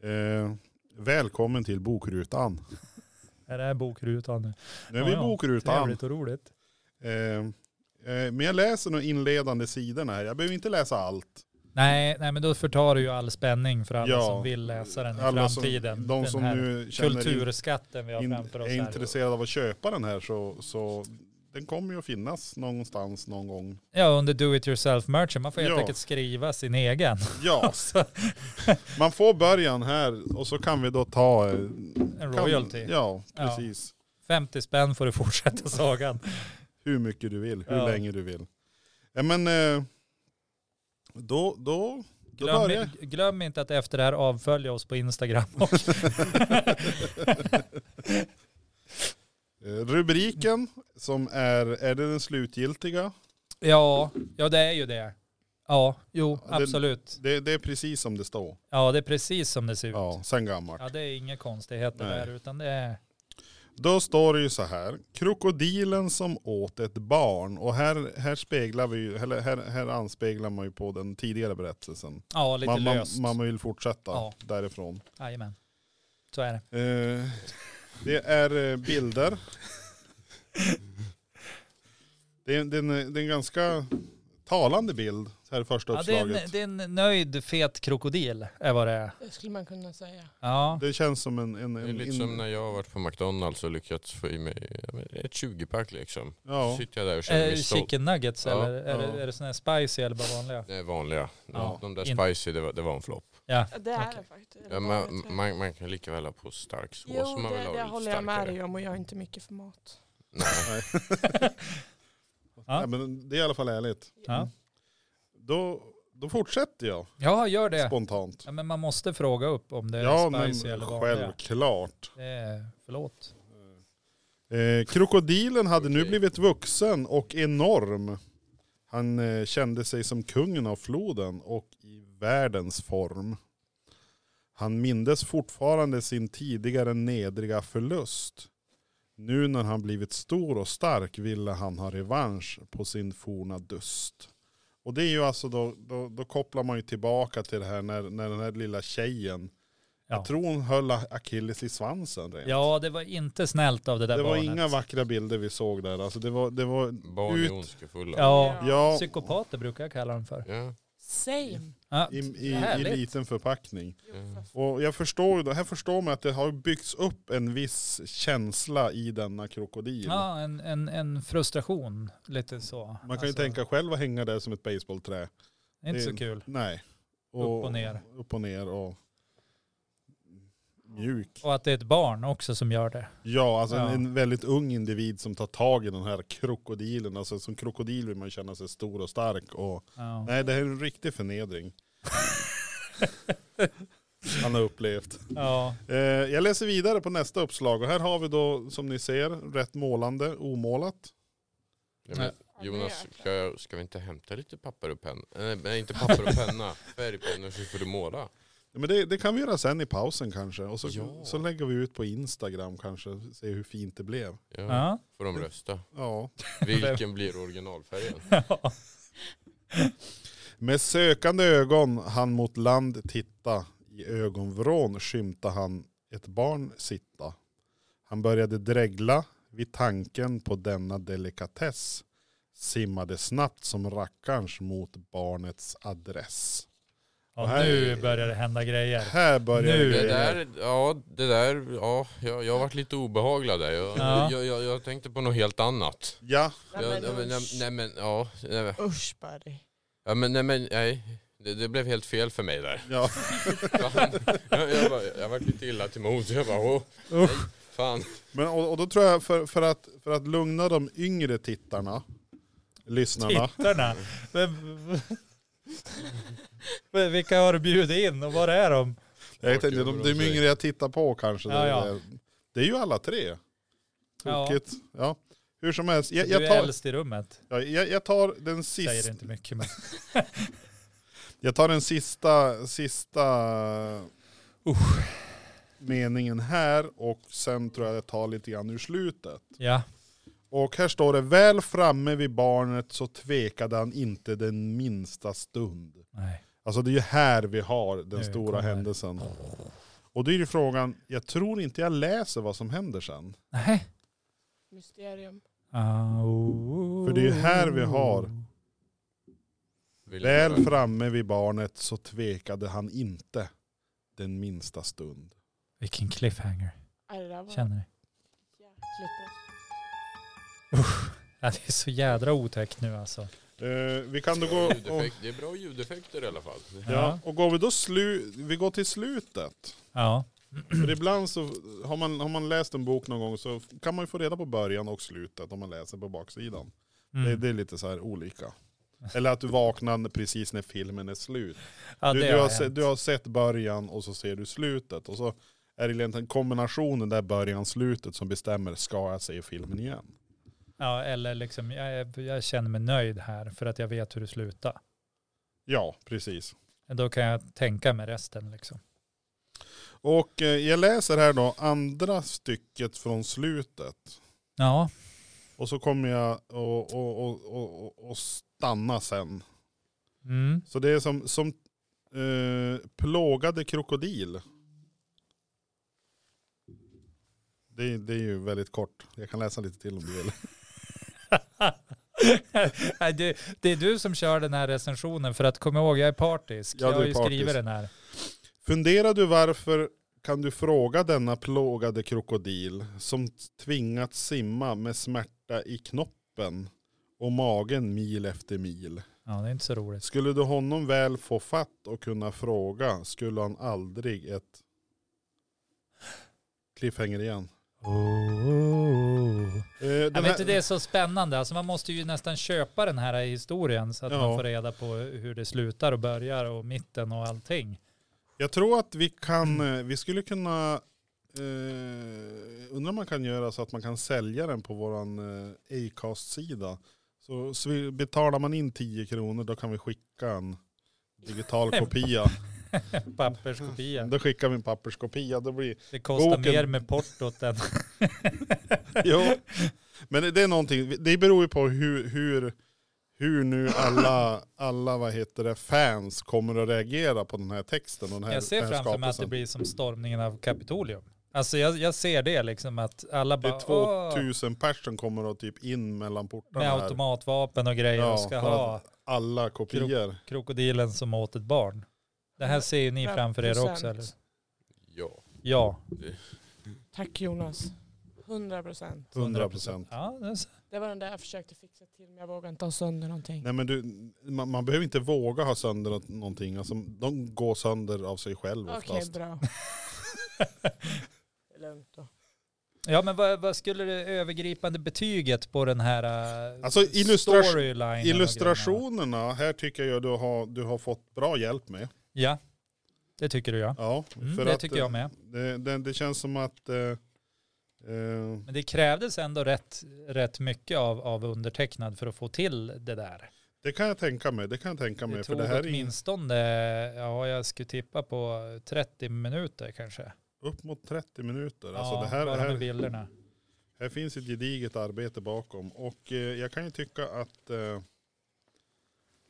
Speaker 1: eh, Välkommen till bokrutan.
Speaker 2: Är det här bokrutan nu?
Speaker 1: Nu är vi i
Speaker 2: Ja, ja.
Speaker 1: bokrutan.
Speaker 2: Trevligt och roligt.
Speaker 1: Eh, eh, men jag läser de inledande sidorna här. Jag behöver inte läsa allt.
Speaker 2: Nej, nej, men då förtar du ju all spänning för alla
Speaker 1: Ja.
Speaker 2: som vill läsa den i
Speaker 1: Alla som-
Speaker 2: framtiden.
Speaker 1: De
Speaker 2: den
Speaker 1: som
Speaker 2: här
Speaker 1: nu känner
Speaker 2: kulturskatten vi har
Speaker 1: in,
Speaker 2: framför oss
Speaker 1: är
Speaker 2: här.
Speaker 1: intresserade av att köpa den här så, så den kommer ju att finnas någonstans någon gång.
Speaker 2: Ja, under do it yourself merchant. Man får helt
Speaker 1: Ja.
Speaker 2: enkelt skriva sin egen.
Speaker 1: Ja,
Speaker 2: [laughs] Alltså,
Speaker 1: man får början här och så kan vi då ta... eh,
Speaker 2: en
Speaker 1: kan-
Speaker 2: royalty.
Speaker 1: Ja,
Speaker 2: Ja.
Speaker 1: precis.
Speaker 2: 50 spänn får
Speaker 1: [laughs]
Speaker 2: du fortsätta sagan.
Speaker 1: Hur mycket du vill, hur
Speaker 2: Ja.
Speaker 1: länge du vill. Ja, men eh, då, då, då
Speaker 2: Glöm,
Speaker 1: börjar
Speaker 2: glöm inte att efter det här avfölja oss på Instagram. [laughs]
Speaker 1: eh, rubriken som är, är det den slutgiltiga?
Speaker 2: ja, ja, det är ju det. Ja, jo,
Speaker 1: Ja, det-
Speaker 2: absolut.
Speaker 1: Det, det är precis som det står.
Speaker 2: Ja, det är precis som det ser ut.
Speaker 1: Ja, sen gammalt.
Speaker 2: Ja, det är inga konstigheter
Speaker 1: Nej.
Speaker 2: där, utan det är...
Speaker 1: Då står det ju så här. Krokodilen som åt ett barn. Och här, här, speglar vi ju, eller här, här anspeglar man ju på den tidigare berättelsen.
Speaker 2: Ja, lite
Speaker 1: man, man,
Speaker 2: löst.
Speaker 1: man vill fortsätta
Speaker 2: Ja.
Speaker 1: därifrån.
Speaker 2: Jajamän. Så är det.
Speaker 1: Eh, det är eh, bilder. det, är, en- det, är en, det är en ganska talande bild. Så här i första
Speaker 2: Ja, det, är en,
Speaker 1: uppslaget.
Speaker 2: det är en nöjd fet krokodil, är vad det är.
Speaker 4: Det skulle man kunna säga.
Speaker 2: Ja,
Speaker 1: det, känns som en... en,
Speaker 3: Det är
Speaker 1: en
Speaker 3: lite
Speaker 1: in-
Speaker 3: som när jag har varit på McDonalds och lyckats få i mig ja, men ett 20-pack liksom.
Speaker 1: ja.
Speaker 3: [laughs] Så sitter jag där och känner
Speaker 2: eh,
Speaker 3: mig stolt.
Speaker 2: chicken nuggets
Speaker 3: Ja,
Speaker 2: eller är,
Speaker 1: ja.
Speaker 2: Det, är det såna här spicy eller bara vanliga?
Speaker 3: Det är vanliga.
Speaker 2: Ja.
Speaker 3: De där
Speaker 2: In-
Speaker 3: spicy, det var, det var en flopp.
Speaker 2: Ja,
Speaker 4: Ja, Det är
Speaker 2: Okej.
Speaker 4: det faktiskt.
Speaker 3: Ja, man, man, man kan lika väl ha på stark sås
Speaker 4: jo,
Speaker 3: om man vill
Speaker 4: det,
Speaker 3: ha
Speaker 4: det
Speaker 3: lite
Speaker 4: håller jag med
Speaker 3: starkare.
Speaker 4: dig om och jag är inte mycket för mat.
Speaker 3: Nej.
Speaker 1: Nej, men det är i alla fall ärligt.
Speaker 2: Ja.
Speaker 1: Då, då fortsätter jag
Speaker 2: ja gör det.
Speaker 1: spontant.
Speaker 2: Ja, men man måste fråga upp om det är
Speaker 1: Ja,
Speaker 2: spicy
Speaker 1: men
Speaker 2: eller vanliga.
Speaker 1: självklart.
Speaker 2: Det är, förlåt.
Speaker 1: Eh, krokodilen hade nu
Speaker 3: Okej.
Speaker 1: blivit vuxen och enorm. Han eh, kände sig som kungen av floden och i världens form. Han mindes fortfarande sin tidigare nedriga förlust. Nu när han blivit stor och stark ville han ha revansch på sin forna dust. Och det är ju alltså då, då, då kopplar man ju tillbaka till det här när, när den här lilla tjejen,
Speaker 2: Ja.
Speaker 1: jag tror hon höll Akilles i svansen rent.
Speaker 2: ja, det var inte snällt av det där
Speaker 1: Det var
Speaker 2: barnet.
Speaker 1: inga vackra bilder vi såg där. Alltså det var, det var,
Speaker 3: Barn
Speaker 1: Ut.
Speaker 3: är ondskefulla.
Speaker 2: Ja,
Speaker 1: ja,
Speaker 2: psykopater brukar jag kalla dem för.
Speaker 3: Ja.
Speaker 4: Same.
Speaker 2: Ja,
Speaker 1: i, i, i
Speaker 2: Härligt.
Speaker 1: liten förpackning.
Speaker 4: Jo,
Speaker 3: Mm.
Speaker 4: för fan.
Speaker 1: Och jag förstår ju, då- här förstår man att det har byggts upp en viss känsla i denna krokodil.
Speaker 2: ja en, en, en frustration, lite så. Alltså,
Speaker 1: Man kan ju tänka själv att hänga där som ett baseballträ.
Speaker 2: Det är inte så
Speaker 1: det-
Speaker 2: kul.
Speaker 1: Nej.
Speaker 2: Upp och ner.
Speaker 1: Upp och ner och mjuk.
Speaker 2: Och att det är ett barn också som gör det.
Speaker 1: Ja, alltså
Speaker 2: Ja.
Speaker 1: En, en väldigt ung individ som tar tag i den här krokodilen. Alltså som krokodil vill man känna sig stor och stark. Och,
Speaker 2: Ja.
Speaker 1: nej, det här är en riktig förnedring. [laughs] Han har upplevt.
Speaker 2: Ja.
Speaker 1: Eh, Jag läser vidare på nästa uppslag och här har vi då som ni ser rätt målande, omålat.
Speaker 3: Ja, men Jonas, ska, ska vi inte hämta lite papper och penna? Eh, Nej, inte papper och penna. Färgpennor så får du måla.
Speaker 1: Ja, Men det, det kan vi göra sen i pausen kanske och så,
Speaker 3: Ja.
Speaker 1: så lägger vi ut på Instagram kanske, se hur fint det blev.
Speaker 3: Ja,
Speaker 2: Ja. [laughs]
Speaker 3: Får de rösta.
Speaker 1: Ja.
Speaker 3: Vilken blir originalfärgen?
Speaker 1: Med sökande ögon han mot land titta, i ögonvrån skymta han ett barn sitta. Han började dregla vid tanken på denna delikatess, simmade snabbt som rackarns mot barnets adress.
Speaker 2: Och nu börjar det hända grejer.
Speaker 1: Här börjar
Speaker 2: Nu.
Speaker 3: Det
Speaker 1: grejer.
Speaker 3: där, ja, det där, ja, jag, jag har varit lite obehaglig där. Jag,
Speaker 2: Ja.
Speaker 3: jag, jag, jag tänkte på något helt annat.
Speaker 1: Ja,
Speaker 4: Nej,
Speaker 3: Jag, jag,
Speaker 4: men,
Speaker 3: nej,
Speaker 4: usch.
Speaker 3: nej men, ja, nej, men-
Speaker 4: Usch Barry.
Speaker 3: ja, men, nej, men, nej. Det, det blev helt fel för mig där.
Speaker 1: ja.
Speaker 3: Fan. [laughs] Jag, jag, bara, jag var lite illa till mods. Jag bara, åh, nej, fan.
Speaker 1: Men, och, och då tror jag för, för, att, för att lugna de yngre tittarna, lyssnarna.
Speaker 2: Tittarna. Vem- Vilka har du bjudit in och var är de?
Speaker 1: Jag tänkte, de, de yngre jag tittar på kanske.
Speaker 2: Ja, ja.
Speaker 1: Det, det är ju alla tre.
Speaker 2: Ja.
Speaker 1: Tokigt. Ja. Hur som helst, jag,
Speaker 2: du
Speaker 1: jag,
Speaker 2: är
Speaker 1: tar,
Speaker 2: äldst i rummet.
Speaker 1: ja, jag, jag tar den
Speaker 2: Säger
Speaker 1: sista,
Speaker 2: inte mycket men.
Speaker 1: jag tar den sista, sista meningen här och sen tror jag jag tar lite grann ur slutet.
Speaker 2: Ja.
Speaker 1: Och här står det, väl framme vid barnet så tvekade han inte den minsta stund.
Speaker 2: Nej.
Speaker 1: Alltså det är ju här vi har den
Speaker 2: Nu
Speaker 1: stora
Speaker 2: kommer-
Speaker 1: händelsen. Och då är ju frågan, jag tror inte jag läser vad som händer sen.
Speaker 2: Nej.
Speaker 4: Mysterium.
Speaker 1: För det är ju här vi har-
Speaker 3: Vill
Speaker 1: Väl
Speaker 3: inte.
Speaker 1: framme vid barnet så tvekade han inte den minsta stund.
Speaker 2: Vilken cliffhanger.
Speaker 4: Nej, det där var
Speaker 2: Känner ni?
Speaker 4: jäkligt bra.
Speaker 2: Ja, det är så jädra otäckt nu alltså.
Speaker 1: Eh, vi kan då
Speaker 2: [laughs]
Speaker 1: gå
Speaker 3: Bra
Speaker 1: och,
Speaker 3: ljudeffekt- Det är bra ljudeffekter i alla fall.
Speaker 1: ja, och går vi då slu, vi går till slutet.
Speaker 2: Ja.
Speaker 1: För ibland så har man, har man läst en bok någon gång så kan man ju få reda på början och slutet om man läser på baksidan.
Speaker 2: Mm.
Speaker 1: Det, det är lite så här olika. Eller att du vaknar precis när filmen är slut.
Speaker 2: ja
Speaker 1: du,
Speaker 2: det
Speaker 1: du, har
Speaker 2: har
Speaker 1: se,
Speaker 2: hänt.
Speaker 1: du har sett början och så ser du slutet. Och så är det egentligen kombinationen där början slutet som bestämmer, ska jag se filmen igen?
Speaker 2: Ja, eller liksom, jag, är- jag känner mig nöjd här för att jag vet hur det slutar.
Speaker 1: Ja, precis.
Speaker 2: Då kan jag tänka med resten liksom.
Speaker 1: Och eh, jag läser här då andra stycket från slutet.
Speaker 2: Ja,
Speaker 1: Och så kommer jag och, och, och, och, och stanna sen.
Speaker 2: mm.
Speaker 1: Så det är som, som eh, plågade krokodil. Det, det är ju väldigt kort. Jag kan läsa lite till om du vill.
Speaker 2: [laughs] Nej, det, det är du som kör den här recensionen för att komma ihåg, jag är partisk.
Speaker 1: Ja,
Speaker 2: jag
Speaker 1: du
Speaker 2: har
Speaker 1: är
Speaker 2: ju
Speaker 1: partisk.
Speaker 2: skrivit den här.
Speaker 1: Funderar du varför kan du fråga denna plågade krokodil som tvingat simma med smärta i knoppen och magen mil efter mil.
Speaker 2: Ja, det är inte så roligt.
Speaker 1: Skulle du honom väl få fatt och kunna fråga skulle han aldrig ett cliffhanger igen. Eh, den
Speaker 2: Jag
Speaker 1: här-
Speaker 2: vet inte, det är så spännande. Alltså man måste ju nästan köpa den här historien så att
Speaker 1: Ja.
Speaker 2: man får reda på hur det slutar och börjar och mitten och allting.
Speaker 1: Jag tror att vi kan, eh, vi skulle kunna, eh, undrar om man kan göra så att man kan sälja den på våran eh, Acast-sida. Så, så vi, betalar man in 10 kronor då kan vi skicka en digital
Speaker 2: [laughs]
Speaker 1: kopia. Mm.
Speaker 2: Papperskopia.
Speaker 1: Då skickar vi en papperskopia. Då blir,
Speaker 2: Det kostar
Speaker 1: Boken.
Speaker 2: mer med portot än...
Speaker 1: jo. Men det- det är någonting, det beror ju på hur, hur, hur nu alla, alla vad heter det, fans kommer att reagera på den här texten och den här,
Speaker 2: Jag ser
Speaker 1: den här
Speaker 2: framför mig att det
Speaker 1: skapelsen.
Speaker 2: blir som stormningen av Kapitolium. Alltså jag, jag ser det liksom att alla
Speaker 1: Det är
Speaker 2: bara... "Åh",
Speaker 1: 2000 personer kommer att typ in mellan portarna
Speaker 2: med
Speaker 1: här.
Speaker 2: automatvapen och grejer
Speaker 1: Ja,
Speaker 2: och ska
Speaker 1: för att-
Speaker 2: ha
Speaker 1: alla kopior.
Speaker 2: krokodilen som åt ett barn. Det här ser ju ni framför er också eller?
Speaker 3: Ja.
Speaker 2: Ja,
Speaker 4: Tack Jonas. 100 procent.
Speaker 1: 100 procent.
Speaker 2: Ja, det är så.
Speaker 4: Det var den där jag försökte fixa till men jag vågade inte ha sönder någonting.
Speaker 1: Nej men du, man, man behöver inte våga ha sönder nå- någonting. Alltså, de går sönder av sig själv
Speaker 4: Okej,
Speaker 1: oftast.
Speaker 2: [laughs]
Speaker 4: bra. Det är lugnt då.
Speaker 2: ja men vad, vad skulle det övergripande betyget på den här eh,
Speaker 1: Alltså, illustration-
Speaker 2: storylinen och grejerna
Speaker 1: Illustrationerna, här tycker jag du har, du har fått bra hjälp med.
Speaker 2: vara? Ja, det tycker du ja.
Speaker 1: Ja,
Speaker 2: Mm,
Speaker 1: för
Speaker 2: det
Speaker 1: att,
Speaker 2: tycker jag
Speaker 1: eh,
Speaker 2: med.
Speaker 1: Det, det, det känns som att eh, eh,
Speaker 2: Men det krävdes ändå rätt, rätt mycket av, av undertecknad för att få till det där.
Speaker 1: det kan jag tänka mig. Det kan jag tänka mig.
Speaker 2: Det
Speaker 1: för
Speaker 2: tog
Speaker 1: det här är in-
Speaker 2: åtminstone, ja jag skulle tippa på 30 minuter kanske.
Speaker 1: upp mot 30 minuter. Alltså,
Speaker 2: ja,
Speaker 1: det här,
Speaker 2: bara med
Speaker 1: här, [laughs]
Speaker 2: bilderna.
Speaker 1: här finns ett gediget arbete bakom. Och eh, jag kan ju tycka att eh,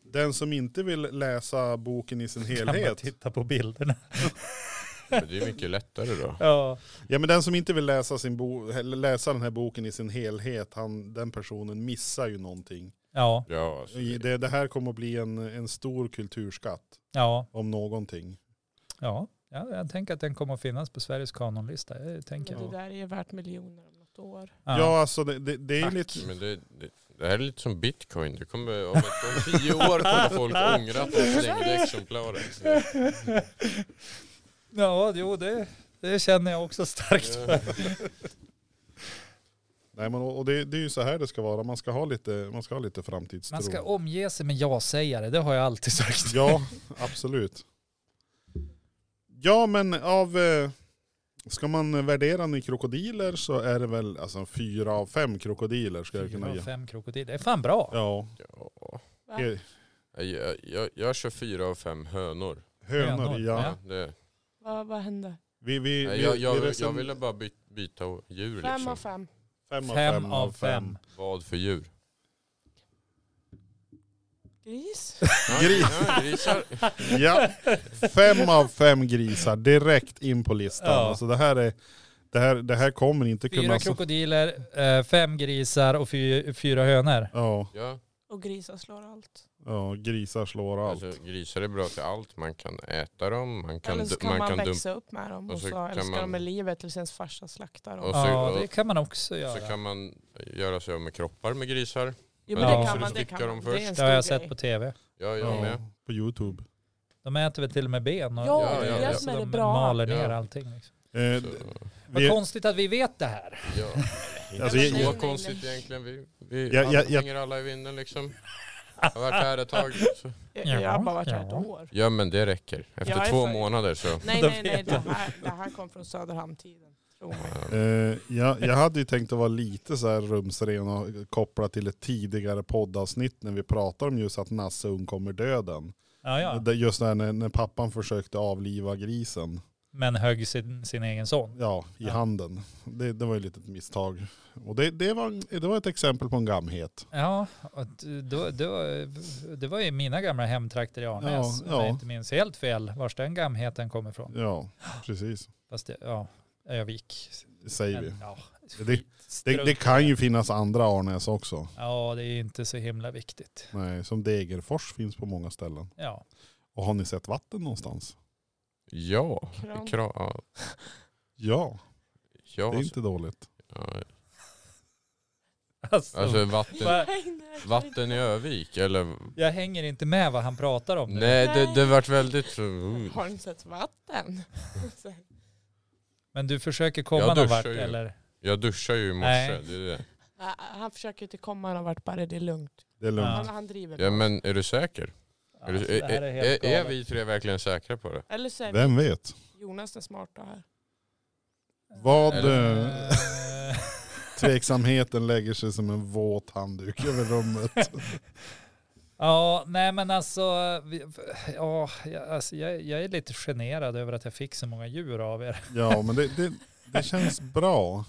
Speaker 1: den som inte vill läsa boken i
Speaker 2: [laughs]
Speaker 1: sin
Speaker 2: Kan man
Speaker 1: helhet
Speaker 2: titta på bilderna. [laughs]
Speaker 3: Men det är mycket lättare då.
Speaker 2: Ja,
Speaker 1: Ja men den som inte vill läsa, sin bo, eller läsa den här boken i sin helhet, han, den personen missar ju någonting.
Speaker 2: ja,
Speaker 3: Ja, alltså,
Speaker 1: Det, det här kommer att bli en, en stor kulturskatt
Speaker 2: ja,
Speaker 1: om någonting.
Speaker 2: ja. Ja, jag tänker att den kommer att finnas på Sveriges kanonlista. Jag tänker.
Speaker 4: Men
Speaker 2: Ja.
Speaker 4: det där är ju värt miljoner om något år.
Speaker 1: Ja, alltså det, det, det är
Speaker 2: Tack.
Speaker 1: lite...
Speaker 3: men det, det, det här är lite som bitcoin. Det kommer, om, ett- om tio år kommer folk ångra att de slängde exemplaret.
Speaker 2: [laughs] Ja, jo, det, det känner jag också starkt för.
Speaker 1: Nej, men, och det, det är ju så här det ska vara, man ska ha lite, man ska ha lite framtidstro.
Speaker 2: Man ska omge sig med ja-sägare, det har jag alltid sagt.
Speaker 1: Ja, absolut. Ja men av... eh, Ska man värdera den i krokodiler så är det väl alltså, fyra av fem krokodiler.
Speaker 2: [laughs]
Speaker 1: Ska jag
Speaker 2: Fyra
Speaker 1: kunna
Speaker 2: av
Speaker 1: ge.
Speaker 2: fem krokodiler, det är fan bra.
Speaker 1: [laughs] Ja,
Speaker 3: Ja.
Speaker 4: Va?
Speaker 1: eh,
Speaker 3: Jag, jag, jag kör fyra av fem hönor.
Speaker 1: hönor,
Speaker 2: Hönor,
Speaker 1: ja.
Speaker 2: ja.
Speaker 3: Det,
Speaker 4: Vad, vad hände?
Speaker 1: Vi, vi,
Speaker 3: jag,
Speaker 1: vi,
Speaker 3: jag,
Speaker 1: vi
Speaker 3: jag,
Speaker 1: recen-
Speaker 3: ville bara by, byta djur
Speaker 4: Fem av
Speaker 3: liksom.
Speaker 4: fem.
Speaker 1: fem
Speaker 2: Fem av fem.
Speaker 3: Vad för djur?
Speaker 2: [laughs]
Speaker 4: Gris.
Speaker 1: Gris.
Speaker 3: Ja, grisar.
Speaker 1: Ja, [laughs] fem av fem grisar direkt in på listan.
Speaker 2: Ja.
Speaker 1: Alltså det, här är, det, här, det här kommer inte kunna...
Speaker 2: Fyra krokodiler, eh, fem grisar och fy, fyra hönor.
Speaker 1: ja,
Speaker 3: Ja,
Speaker 4: Och grisar slår allt.
Speaker 1: ja, grisar slår allt.
Speaker 3: alltså, grisar är bra till allt. Man kan äta dem, man kan,
Speaker 4: Eller så
Speaker 3: du-
Speaker 4: kan man,
Speaker 3: man kan dumpa
Speaker 4: växa upp med dem och,
Speaker 3: och så
Speaker 4: så,
Speaker 3: kan
Speaker 4: älskar
Speaker 3: man-
Speaker 4: de med livet tills ens farsa slaktar dem.
Speaker 3: Och så-
Speaker 2: Ja,
Speaker 3: och-
Speaker 2: det kan man också
Speaker 3: Så
Speaker 2: göra.
Speaker 3: kan man göra sig av med kroppar med grisar.
Speaker 4: Jo,
Speaker 2: Ja.
Speaker 4: men det
Speaker 2: Så
Speaker 4: kan
Speaker 2: du
Speaker 4: man, det
Speaker 3: styckar
Speaker 4: kan
Speaker 3: dem
Speaker 4: man. Det är
Speaker 3: först.
Speaker 4: en
Speaker 2: Det
Speaker 4: stor
Speaker 2: har jag sett
Speaker 4: grej.
Speaker 2: på tv.
Speaker 3: Ja, jag
Speaker 1: Ja,
Speaker 3: med.
Speaker 1: på YouTube.
Speaker 2: De äter väl till och med ben och
Speaker 4: Ja,
Speaker 3: det är det
Speaker 2: så
Speaker 4: som är det
Speaker 2: de
Speaker 4: bra.
Speaker 2: maler ner
Speaker 3: Ja.
Speaker 2: allting. Liksom.
Speaker 1: Eh,
Speaker 3: Så,
Speaker 2: Vad
Speaker 1: Vi-
Speaker 2: konstigt att vi vet det här.
Speaker 3: ja.
Speaker 1: [laughs] Alltså,
Speaker 3: det
Speaker 1: jag-
Speaker 3: är
Speaker 1: jag-
Speaker 3: så konstigt egentligen. Vi, vi
Speaker 1: Jag- jag- jag-
Speaker 3: hänger alla i vinden liksom. Jag har varit här ett tag. Så.
Speaker 4: Jag, jag har bara varit här
Speaker 2: Ja.
Speaker 4: ett år.
Speaker 3: Ja men det räcker.
Speaker 4: Jag
Speaker 3: Efter
Speaker 4: är
Speaker 3: två
Speaker 4: för-
Speaker 3: månader så.
Speaker 4: Nej,
Speaker 2: Då
Speaker 4: nej, nej.
Speaker 2: vet
Speaker 4: Det här, det här kom från Söderhamn-tiden. Tro mig.
Speaker 1: Eh, jag, jag hade ju tänkt att vara lite så här rumsren och koppla till ett tidigare poddavsnitt när vi pratade om just att Nasse undkommer döden.
Speaker 2: Ja, ja.
Speaker 1: Det- Just när, när pappan försökte avliva grisen
Speaker 2: Men högg sin, sin egen son.
Speaker 1: ja, i
Speaker 2: Ja.
Speaker 1: handen. Det, det var ju ett litet misstag. Och det, det, var, en- det var ett exempel på en gamhet.
Speaker 2: Ja, och då, då, det var ju mina gamla hemtrakter i Arnäs.
Speaker 1: Ja,
Speaker 2: Om jag
Speaker 1: ja.
Speaker 2: inte minns helt fel vars den gamheten kommer ifrån.
Speaker 1: Ja, precis.
Speaker 2: Fast det, ja, Övik.
Speaker 1: Det säger vi.
Speaker 2: Men, ja,
Speaker 1: Det-
Speaker 2: skit,
Speaker 1: Det,
Speaker 2: strunt
Speaker 1: det
Speaker 2: i
Speaker 1: kan ju finnas andra Arnäs också.
Speaker 2: Ja, det är inte så himla viktigt.
Speaker 1: Nej, som Degerfors finns på många ställen.
Speaker 2: Ja,
Speaker 1: Och har ni sett vatten någonstans?
Speaker 3: Ja.
Speaker 4: Kram.
Speaker 3: Kra, ja,
Speaker 1: Ja, det är
Speaker 3: ja, alltså,
Speaker 1: inte dåligt.
Speaker 3: ja.
Speaker 2: [laughs] alltså,
Speaker 3: Alltså vatten,
Speaker 2: Va-
Speaker 4: Nej, nej.
Speaker 3: vatten i Övik eller?
Speaker 2: jag hänger inte med vad han pratar om. nu.
Speaker 3: Nej det, det vart väldigt så. uh.
Speaker 4: Har ni sett vatten?
Speaker 2: Men du försöker komma
Speaker 3: Jag
Speaker 2: någon
Speaker 3: duschar
Speaker 2: vart
Speaker 3: ju.
Speaker 2: eller?
Speaker 3: Jag duschar ju i morse.
Speaker 2: Nej.
Speaker 3: Det är det.
Speaker 4: Nej, Han försöker inte komma någon vart, bara det är lugnt.
Speaker 1: Det är lugnt.
Speaker 2: Ja.
Speaker 4: Han, han driver
Speaker 3: Ja
Speaker 4: på.
Speaker 3: men är du säker?
Speaker 2: Ja, alltså,
Speaker 3: Är, du,
Speaker 2: det här
Speaker 3: är, är,
Speaker 2: är helt
Speaker 3: är,
Speaker 2: galet.
Speaker 3: vi tre verkligen säkra på det?
Speaker 4: Eller så är
Speaker 1: Vem vet?
Speaker 4: Jonas den smarta här.
Speaker 1: Vad
Speaker 3: Eller-
Speaker 1: eh, tveksamheten lägger sig som en våt handduk över rummet.
Speaker 2: Ja, nej men alltså, vi- ja, jag- alltså jag, jag är lite generad över att jag fick så många djur av er. [laughs]
Speaker 1: Ja, men det, det, det känns bra.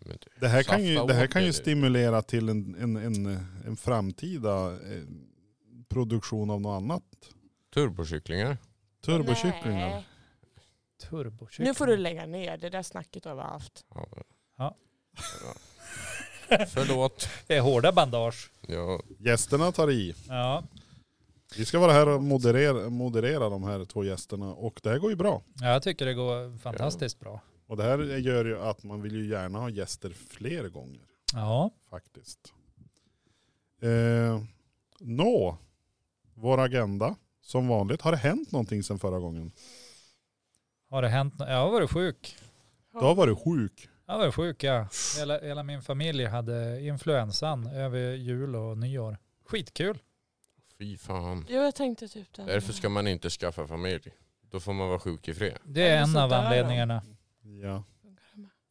Speaker 3: Men det-
Speaker 1: Det här kan ju,
Speaker 3: Safta
Speaker 1: det här
Speaker 3: åt
Speaker 1: kan
Speaker 3: dig
Speaker 1: ju
Speaker 3: nu.
Speaker 1: stimulera till en, en, en, en framtida eh, produktion av något annat.
Speaker 3: Turbokycklingar?
Speaker 1: Turbokycklingar.
Speaker 4: Nej.
Speaker 2: Turbokyckling.
Speaker 4: Nu får du lägga ner det där snacket du har haft.
Speaker 3: Ja.
Speaker 2: Ja.
Speaker 3: [laughs] Förlåt.
Speaker 2: Det är hårda bandage.
Speaker 3: Ja,
Speaker 1: Gästerna tar i.
Speaker 2: Ja,
Speaker 1: Vi ska vara här och moderera, moderera de här två gästerna och det här går ju bra.
Speaker 2: jag tycker det går fantastiskt bra.
Speaker 1: Och det här gör ju att man vill ju gärna ha gäster fler gånger
Speaker 2: Ja,
Speaker 1: faktiskt. Eh, nå, vår agenda som vanligt. Har det hänt någonting sedan förra gången?
Speaker 2: har det hänt nå- Jag har varit sjuk.
Speaker 1: Du har varit sjuk.
Speaker 2: Jag har varit sjuk ja. Hela, hela min familj hade influensan över jul och nyår. Skitkul.
Speaker 3: fy fan.
Speaker 4: Jo, jag tänkte typ det.
Speaker 3: Därför ska man inte skaffa familj. Då får man vara sjuk i fred.
Speaker 2: Det är
Speaker 4: Eller
Speaker 2: en
Speaker 4: så
Speaker 2: av
Speaker 4: dör de.
Speaker 2: anledningarna.
Speaker 1: Ja.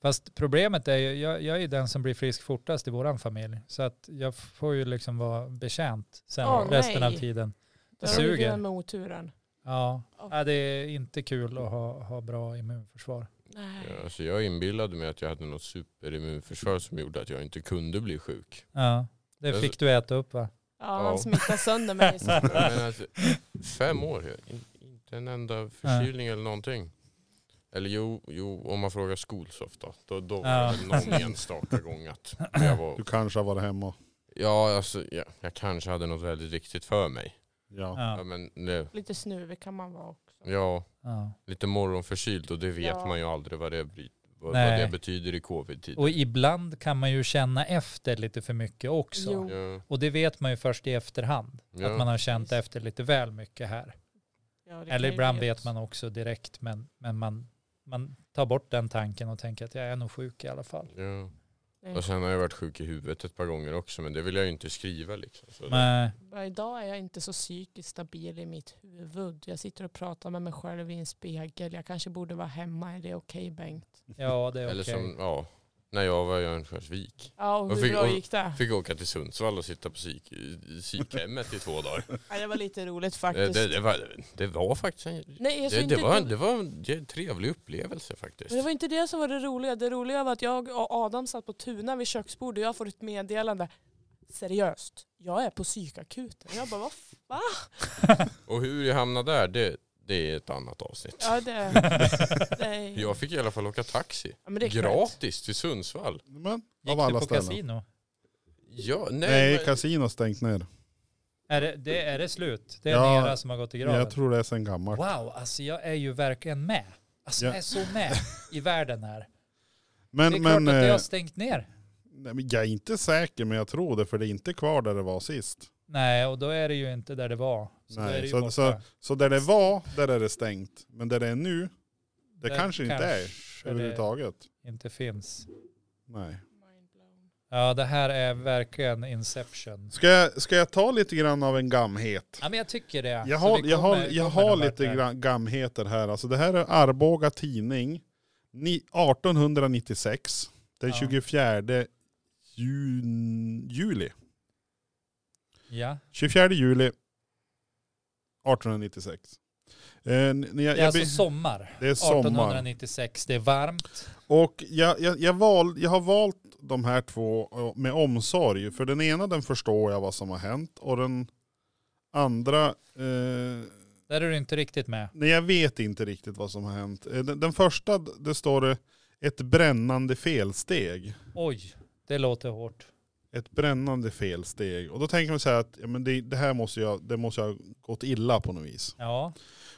Speaker 2: Fast problemet är ju, jag, jag är ju den som blir frisk fortast i våran familj. Så att jag får ju liksom vara betjänt sen
Speaker 4: Åh,
Speaker 2: resten
Speaker 4: nej.
Speaker 2: av tiden.
Speaker 4: Det
Speaker 2: suger.
Speaker 4: suger. med oturen.
Speaker 2: Ja.
Speaker 4: Åh.
Speaker 2: ja, det är inte kul att ha, ha bra immunförsvar.
Speaker 3: Ja,
Speaker 4: Nej.
Speaker 3: Alltså jag inbillade mig att jag hade något superimmunförsvar som gjorde att jag inte kunde bli
Speaker 2: [laughs]
Speaker 3: sjuk.
Speaker 2: Ja, det
Speaker 3: Alltså-
Speaker 2: fick du äta upp va?
Speaker 4: Ja,
Speaker 3: Ja.
Speaker 4: han smittar sönder
Speaker 2: [laughs]
Speaker 3: [laughs]
Speaker 4: mig. Så.
Speaker 3: Ja, Men alltså, fem år, jag- in- inte en enda förkylning eller någonting. Eller jo, jo, om man frågar Skolsoft då, då, då var
Speaker 2: Ja.
Speaker 3: det väl någon enstaka gång att jag var,
Speaker 1: Du kanske har varit hemma.
Speaker 3: ja alltså jag, jag kanske hade något väldigt riktigt för mig.
Speaker 1: Ja.
Speaker 3: Ja,
Speaker 2: Ja.
Speaker 3: men nu,
Speaker 4: Lite snuvig kan man vara också.
Speaker 3: ja,
Speaker 2: Ja.
Speaker 3: lite morgonförkyld och det vet
Speaker 4: Ja.
Speaker 3: man ju aldrig vad det, bry- vad, vad
Speaker 2: Nej.
Speaker 3: det betyder i covid-tid.
Speaker 2: Och ibland kan man ju känna efter lite för mycket också.
Speaker 4: Jo.
Speaker 3: Ja,
Speaker 2: Och det vet man ju först i efterhand. Att man
Speaker 3: ja.
Speaker 2: har känt
Speaker 4: Precis.
Speaker 2: efter lite väl mycket här.
Speaker 4: Ja, det kan
Speaker 2: Eller
Speaker 4: ju
Speaker 2: ibland
Speaker 4: bli
Speaker 2: vet
Speaker 4: ett-
Speaker 2: man också direkt men, men man, man tar bort den tanken och tänker att jag är nog sjuk i alla fall.
Speaker 3: Ja.
Speaker 4: Nej.
Speaker 3: Och sen har jag varit sjuk i huvudet ett par gånger också men det vill jag ju inte skriva liksom. Så det-
Speaker 2: Men,
Speaker 4: Bara Idag är jag inte så psykiskt stabil i mitt huvud. Jag sitter och pratar med mig själv i en spegel. Jag kanske borde vara hemma. Är det okej Bengt?
Speaker 2: ja, det är
Speaker 3: Eller
Speaker 2: okej.
Speaker 3: som, ja, när jag var i Örnsköldsvik.
Speaker 4: Ja, och
Speaker 3: Och
Speaker 4: hur
Speaker 3: fick-
Speaker 4: bra
Speaker 3: och-
Speaker 4: gick det?
Speaker 3: Fick åka till Sundsvall och sitta på psyk, i psykhemmet i två dagar.
Speaker 4: Ja, det var lite roligt
Speaker 3: Eh,
Speaker 4: [laughs] faktiskt.
Speaker 3: Det, det, var, det var faktiskt en,
Speaker 4: Nej, alltså
Speaker 3: det,
Speaker 4: inte
Speaker 3: det var,
Speaker 4: det-
Speaker 3: en- det var en det är en trevlig upplevelse faktiskt.
Speaker 4: Men det var inte det som var det roliga. Det roliga var att jag och Adam satt på Tuna vid köksbordet och jag får ett meddelande. seriöst, jag är på psykakuten. Jag bara, vad f- va?
Speaker 3: Och hur jag hamnade där, det, det är ett annat avsnitt. [laughs]
Speaker 4: Ja, det, det är,
Speaker 3: Jag fick i alla fall åka taxi.
Speaker 4: ja, men det är klart.
Speaker 3: Gratis till Sundsvall.
Speaker 1: Men,
Speaker 2: Gick
Speaker 1: av
Speaker 2: du
Speaker 1: alla
Speaker 2: på
Speaker 1: ställen.
Speaker 2: kasino?
Speaker 3: Ja, nej,
Speaker 1: Nej,
Speaker 3: men-
Speaker 1: kasino stängt ner.
Speaker 2: Är det, det, är det slut? Det är en
Speaker 1: Ja,
Speaker 2: era som har gått i graven?
Speaker 1: Jag tror det är sen gammalt.
Speaker 2: Wow, alltså jag är ju verkligen med. Alltså
Speaker 1: Ja.
Speaker 2: jag är så med i
Speaker 1: [laughs]
Speaker 2: världen här. det är
Speaker 1: Men, men,
Speaker 2: klart att det
Speaker 1: eh,
Speaker 2: har stängt ner.
Speaker 1: nej, men jag är inte säker men jag tror det för det är inte kvar där det var sist.
Speaker 2: Nej, och då är det ju inte där det var. Så då
Speaker 1: Nej,
Speaker 2: är det ju
Speaker 1: så-
Speaker 2: borta.
Speaker 1: så- Så där det var, där är det stängt. Men där det är nu, det
Speaker 2: Där
Speaker 1: kanske inte är
Speaker 2: kanske det
Speaker 1: överhuvudtaget.
Speaker 2: Inte finns.
Speaker 1: Nej.
Speaker 2: Ja, det här är verkligen Inception.
Speaker 1: Ska jag, ska jag ta lite grann av en gamhet?
Speaker 2: Ja, men jag tycker det.
Speaker 1: Jag
Speaker 2: Så
Speaker 1: har,
Speaker 2: vi
Speaker 1: jag har,
Speaker 2: kommer-
Speaker 1: jag
Speaker 2: kommer
Speaker 1: har
Speaker 2: någon vart
Speaker 1: lite
Speaker 2: där.
Speaker 1: gra- gamheter här. Alltså det här är Arboga tidning. Ni, 1896. Den
Speaker 2: Ja.
Speaker 1: 24 jun, juli.
Speaker 2: Ja.
Speaker 1: 24 juli 1896. Eh, n- när jag,
Speaker 2: Det är
Speaker 1: jag,
Speaker 2: alltså
Speaker 1: be-
Speaker 2: sommar.
Speaker 1: det är sommar.
Speaker 2: 1896, det är varmt.
Speaker 1: Och jag, jag, jag, val, jag har valt de här två eh, med omsorg. För den ena den förstår jag vad som har hänt. Och den andra, eh,
Speaker 2: Där är du inte riktigt med.
Speaker 1: nej jag vet inte riktigt vad som har hänt. Eh, Den, den första, d- det står det, ett brännande felsteg.
Speaker 2: Oj, det låter hårt.
Speaker 1: Ett brännande felsteg. Och då tänker man så här att ja, men det, det här måste jag, det måste jag ha gått illa på något vis.
Speaker 2: Ja.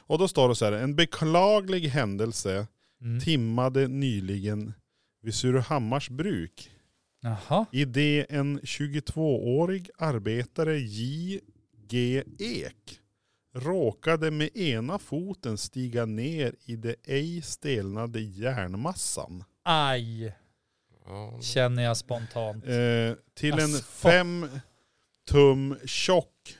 Speaker 1: Och då står det så här, en beklaglig händelse
Speaker 2: Mm.
Speaker 1: timmade nyligen vid Surahammars bruk.
Speaker 2: Jaha.
Speaker 1: I det en 22-årig arbetare J. G. Ek råkade med ena foten stiga ner i det ej stelnade järnmassan.
Speaker 2: Aj,
Speaker 3: Ja,
Speaker 2: känner jag spontant.
Speaker 1: Eh, till en
Speaker 2: Alltså, fuck.
Speaker 1: fem tum tjock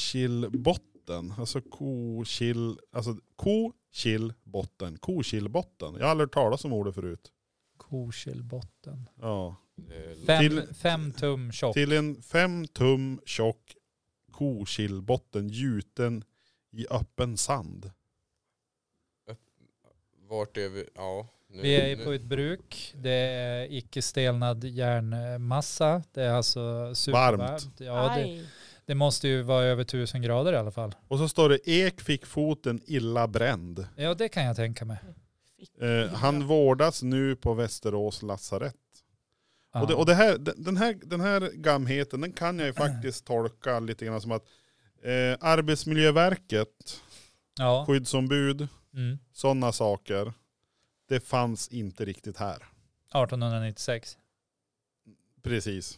Speaker 1: kokillbotten. Alltså kokill, alltså kokillbotten. Kokillbotten. Jag har aldrig hört talas om ordet förut.
Speaker 2: Kokilbotten.
Speaker 1: Ja.
Speaker 3: det-
Speaker 2: Fem,
Speaker 1: Till-
Speaker 2: fem tum tjock.
Speaker 1: Till en fem tum tjock kokillbotten gjuten i öppen sand.
Speaker 3: Vart är vi? Ja, nu,
Speaker 2: Vi är på
Speaker 3: nu.
Speaker 2: ett bruk. Det är icke stelnad järnmassa. Det är alltså supervarmt. Ja, det,
Speaker 4: Aj.
Speaker 2: det måste ju vara över tusen grader i alla fall.
Speaker 1: Och så står det Ek fick foten illa bränd.
Speaker 2: Ja, det kan jag tänka mig.
Speaker 1: Eh, han vårdas nu på Västerås lasarett.
Speaker 2: Ja.
Speaker 1: Och, det, och det här, den- den, här, den här gamheten den kan jag
Speaker 2: [clears throat]
Speaker 1: ju faktiskt tolka lite grann som att eh, Arbetsmiljöverket,
Speaker 2: ja.
Speaker 1: skyddsombud,
Speaker 2: Mm.
Speaker 1: sådana saker, det fanns inte riktigt här.
Speaker 2: 1896.
Speaker 1: Precis.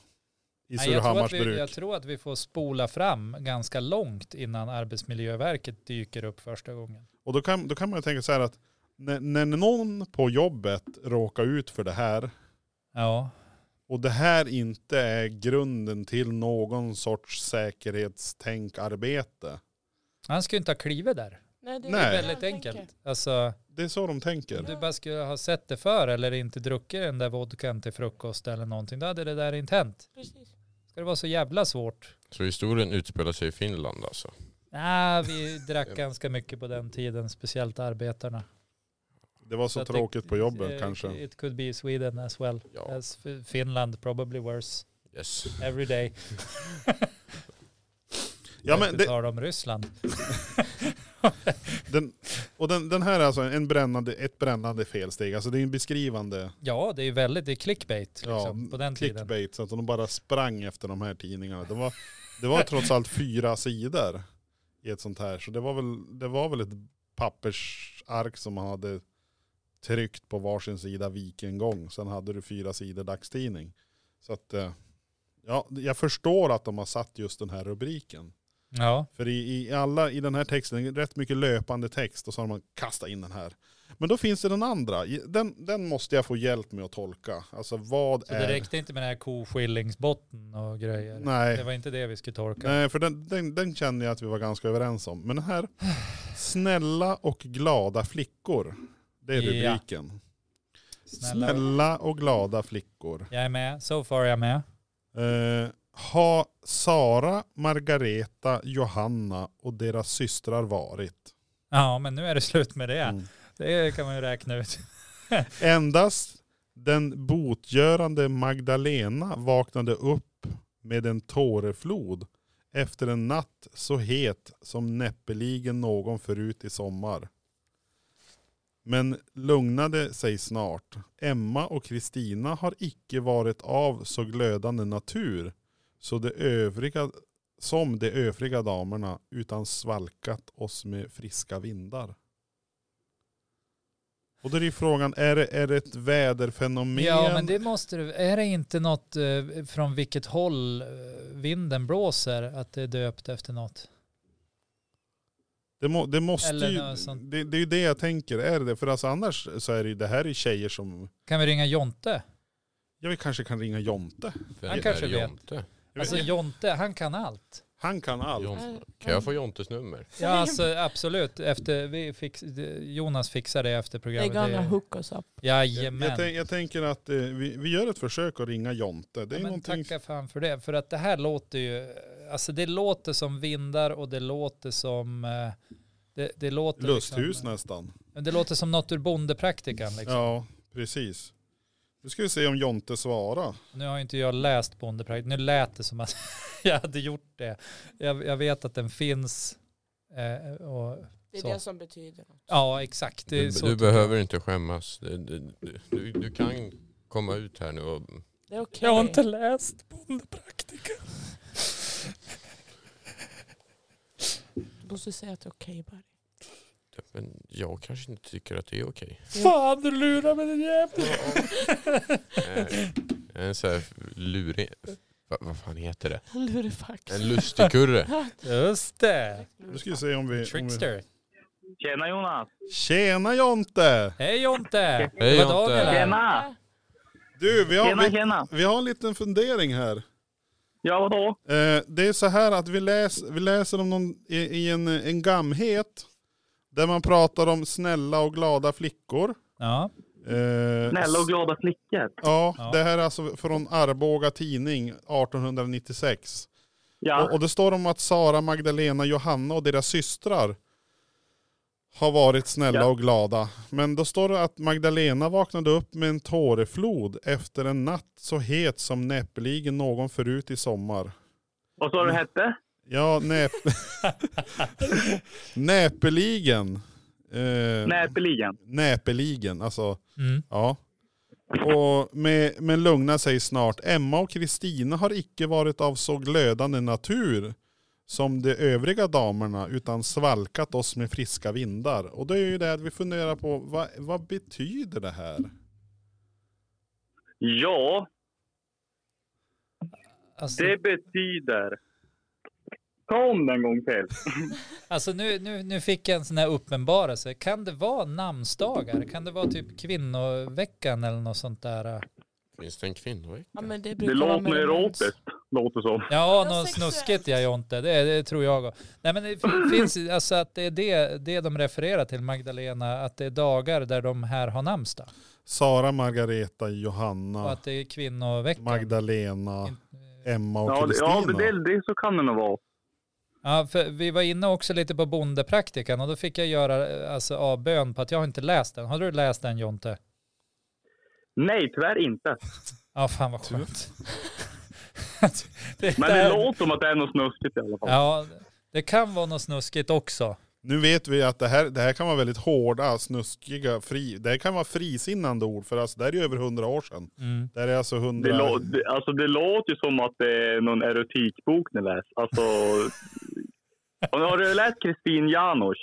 Speaker 1: I
Speaker 2: Nej, jag, tror
Speaker 1: Surahammars
Speaker 2: att vi, jag
Speaker 1: bruk.
Speaker 2: tror att vi får spola fram ganska långt innan Arbetsmiljöverket dyker upp första gången.
Speaker 1: Och då kan, då kan man ju tänka så här att när, när någon på jobbet råkar ut för det här
Speaker 2: Ja,
Speaker 1: och det här inte är grunden till någon sorts säkerhetstänkarbete.
Speaker 2: han skulle inte ha klivit där.
Speaker 4: Nej, det är
Speaker 1: Nej.
Speaker 4: det jag
Speaker 2: Väldigt
Speaker 4: tänker.
Speaker 2: enkelt. Alltså,
Speaker 1: Det är så de tänker.
Speaker 2: om du bara skulle ha sett det för eller inte druckit den där vodkan till frukost eller någonting, då hade det där inte hänt.
Speaker 4: Precis.
Speaker 2: Ska det vara så jävla svårt?
Speaker 3: Så historien utspelar sig i Finland alltså?
Speaker 2: Nej,
Speaker 4: [laughs]
Speaker 2: vi drack ganska mycket på den tiden, speciellt arbetarna.
Speaker 1: Det var så,
Speaker 2: att det-
Speaker 1: tråkigt på jobbet
Speaker 2: eh,
Speaker 1: kanske.
Speaker 2: It could be Sweden as well.
Speaker 3: Ja.
Speaker 2: As F- Finland probably worse
Speaker 3: Yes.
Speaker 2: every day.
Speaker 1: Ja, men
Speaker 2: det...
Speaker 1: det,
Speaker 2: tal om Ryssland.
Speaker 1: Den, och den, den här är alltså en brännande, ett brännande felsteg. Alltså det är en beskrivande
Speaker 2: Ja, det är ju väldigt, det är clickbait liksom,
Speaker 1: ja,
Speaker 2: på den
Speaker 1: clickbait.
Speaker 2: tiden.
Speaker 1: Så att de bara sprang efter de här tidningarna. Det var, det var trots allt fyra sidor i ett sånt här. Så det var väl, det var väl ett pappersark som man hade tryckt på varsin sida viken gång. Sen hade du fyra sidor dagstidning. Så att, eh, ja, jag förstår att de har satt just den här rubriken.
Speaker 2: Ja,
Speaker 1: För i, i, alla, i den här texten, det är rätt mycket löpande text och så har man kastat in den här. Men då finns det den andra. I- Den, den måste jag få hjälp med att tolka. Alltså vad
Speaker 2: så
Speaker 1: är...
Speaker 2: det räckte inte med den här koskillingsbotten och grejer. Det
Speaker 1: Nej.
Speaker 2: var inte det vi skulle torka.
Speaker 1: Nej, för den, den, den känner jag att vi var ganska överens om. Men den här, snälla och glada flickor. Det är
Speaker 2: Ja.
Speaker 1: rubriken.
Speaker 2: Snälla.
Speaker 1: Snälla och glada flickor.
Speaker 2: Jag är med, so far är jag med.
Speaker 1: Eh, ha Sara, Margareta, Johanna och deras systrar varit.
Speaker 2: Ja, men nu är det slut med det.
Speaker 1: Mm.
Speaker 2: Det kan man ju räkna ut.
Speaker 1: Endast Den botgörande Magdalena vaknade upp med en tåreflod efter en natt så het som näppeligen någon förut i sommar. Men lugnade sig snart. Emma och Kristina har icke varit av så glödande natur så de övriga, som de övriga damerna utan svalkat oss med friska vindar. Och då är ju frågan, är det, är det ett väderfenomen?
Speaker 2: Ja, men det måste du. Är det inte något eh, från vilket håll eh, vinden blåser att det är döpt efter något?
Speaker 1: Det, må, det måste
Speaker 2: Eller
Speaker 1: ju,
Speaker 2: något sånt.
Speaker 1: det, det är ju det jag tänker, är det det? För alltså annars så är det ju, det här är tjejer som,
Speaker 2: Kan vi ringa Jonte?
Speaker 1: ja vi kanske kan ringa Jonte.
Speaker 2: Han
Speaker 3: är
Speaker 2: kanske vet.
Speaker 3: Jonte?
Speaker 1: Jag
Speaker 2: Alltså
Speaker 1: vet-
Speaker 2: Jonte, han
Speaker 1: [laughs]
Speaker 2: kan allt.
Speaker 1: Han kan allt.
Speaker 3: Jonte. Kan jag få Jontes nummer?
Speaker 2: Ja, alltså absolut. Efter, vi fix, Jonas fixar det efter
Speaker 4: They're
Speaker 2: programmet.
Speaker 4: gonna
Speaker 2: Det,
Speaker 4: hook us up.
Speaker 1: Jag,
Speaker 2: jajamän.
Speaker 1: jag, tänk, jag tänker att eh, vi, vi gör ett försök att ringa Jonte. Det är
Speaker 2: Ja, men
Speaker 1: någonting,
Speaker 2: tacka fan för det, för att det här låter ju, alltså det låter som vindar och det låter som, eh, det, det låter
Speaker 1: lusthus
Speaker 2: liksom,
Speaker 1: nästan.
Speaker 2: Men det låter som något ur bondepraktikan liksom.
Speaker 1: Ja, precis. Nu ska vi se om Jonte svarar.
Speaker 2: Nu har ju inte jag läst bondepraktikan, nu lät det som att [laughs] jag hade gjort det. Jag, jag vet att den finns. Eh, och,
Speaker 4: Det är
Speaker 2: Så.
Speaker 4: det som betyder något.
Speaker 2: ja, exakt. Det är
Speaker 3: Du,
Speaker 2: så
Speaker 3: du
Speaker 2: tycker jag.
Speaker 3: behöver inte skämmas. Du, du, du, du kan komma ut här nu och...
Speaker 4: Det är okej.
Speaker 2: Jag har inte läst bondepraktikan.
Speaker 4: Du måste säga att det är okej [laughs] bara.
Speaker 3: Men jag kanske inte tycker att det är okej.
Speaker 2: Fan, du lurar mig din jävel.
Speaker 3: Eh, Jag är en sån här lurig... Va, vad fan heter det?
Speaker 4: Lurifax.
Speaker 3: En lustigkurre.
Speaker 2: Just det.
Speaker 1: Nu ska vi se om vi... Om vi...
Speaker 2: Trickster.
Speaker 5: Tjena Jonas!
Speaker 1: Tjena Jonte!
Speaker 2: Hej Jonte.
Speaker 3: Hej,
Speaker 2: Det var
Speaker 3: Jonte.
Speaker 2: Daniel här.
Speaker 5: Tjena!
Speaker 1: Du, vi har,
Speaker 5: Tjena
Speaker 1: vi,
Speaker 5: tjena!
Speaker 1: vi har en liten fundering här.
Speaker 5: Ja vadå?
Speaker 1: Eh, det är så här att vi, läs, vi läser om någon i, i en, en gamhet där man pratar om snälla och glada flickor.
Speaker 2: Ja.
Speaker 1: Eh,
Speaker 5: Snälla och glada flickor.
Speaker 1: Ja,
Speaker 2: Ja.
Speaker 1: det här är alltså från Arboga tidning 1896. Och,
Speaker 5: Ja,
Speaker 1: och det står om att Sara, Magdalena, Johanna och deras systrar har varit snälla
Speaker 5: Ja.
Speaker 1: och glada. Men då står det att Magdalena vaknade upp med en tåreflod efter en natt så het som näppeligen någon förut i sommar.
Speaker 5: vad sa du hette?
Speaker 1: Ja, näp... näpeligen. Eh,
Speaker 5: Näpeligen.
Speaker 1: näpeligen, alltså
Speaker 2: Mm.
Speaker 1: ja. Och med, men lugna sig snart. Emma och Kristina har icke varit av så glödande natur som de övriga damerna utan svalkat oss med friska vindar. Och det är ju det att vi funderar på, vad, vad betyder det här?
Speaker 5: Ja,
Speaker 2: Alltså,
Speaker 5: det betyder... Ta om den en gång till.
Speaker 2: Alltså nu, nu, nu fick jag en sån här uppenbarelse. Kan det vara namnsdagar? Kan det vara typ kvinnoveckan eller något sånt där?
Speaker 3: Finns det en kvinnovecka?
Speaker 4: Ja, men det
Speaker 5: Det
Speaker 4: brukar vara
Speaker 5: låter
Speaker 4: med
Speaker 5: erotiskt, låter som.
Speaker 2: Ja,
Speaker 4: Ja,
Speaker 2: något
Speaker 4: sexuellt.
Speaker 2: snuskigt jag Jonte. Det, det tror jag. också. Nej men det fin- finns ju- alltså att det är det, det de refererar till Magdalena, att det är dagar där de här har namnsdag.
Speaker 1: Sara, Margareta,
Speaker 2: Och
Speaker 1: Johanna,
Speaker 2: att det är kvinnoveckan.
Speaker 1: Magdalena, Emma
Speaker 5: Ja,
Speaker 1: och
Speaker 5: det, ja men
Speaker 1: Kristina.
Speaker 5: det, det så kan det nog vara.
Speaker 2: Ja, för vi var inne också lite på bondepraktikan och då fick jag göra eh, alltså, avbön på att jag har inte läst den. Har du läst den Jonte?
Speaker 5: Nej, tyvärr inte.
Speaker 2: Ja, fan vad skönt. [laughs]
Speaker 5: Men det låter som att det är något snuskigt i alla fall.
Speaker 2: Ja, det kan vara något snuskigt också.
Speaker 1: Nu vet vi att det här, det här kan vara väldigt hårda, snuskiga, fri, det här kan vara frisinnande ord för alltså, det här är ju över hundra år sedan.
Speaker 2: Mm.
Speaker 1: Det här är alltså
Speaker 5: Det,
Speaker 1: hundra...
Speaker 5: lå, det, alltså, det låter ju som att det är någon erotikbok ni läser. Alltså... Har du läst Kristin Janouchs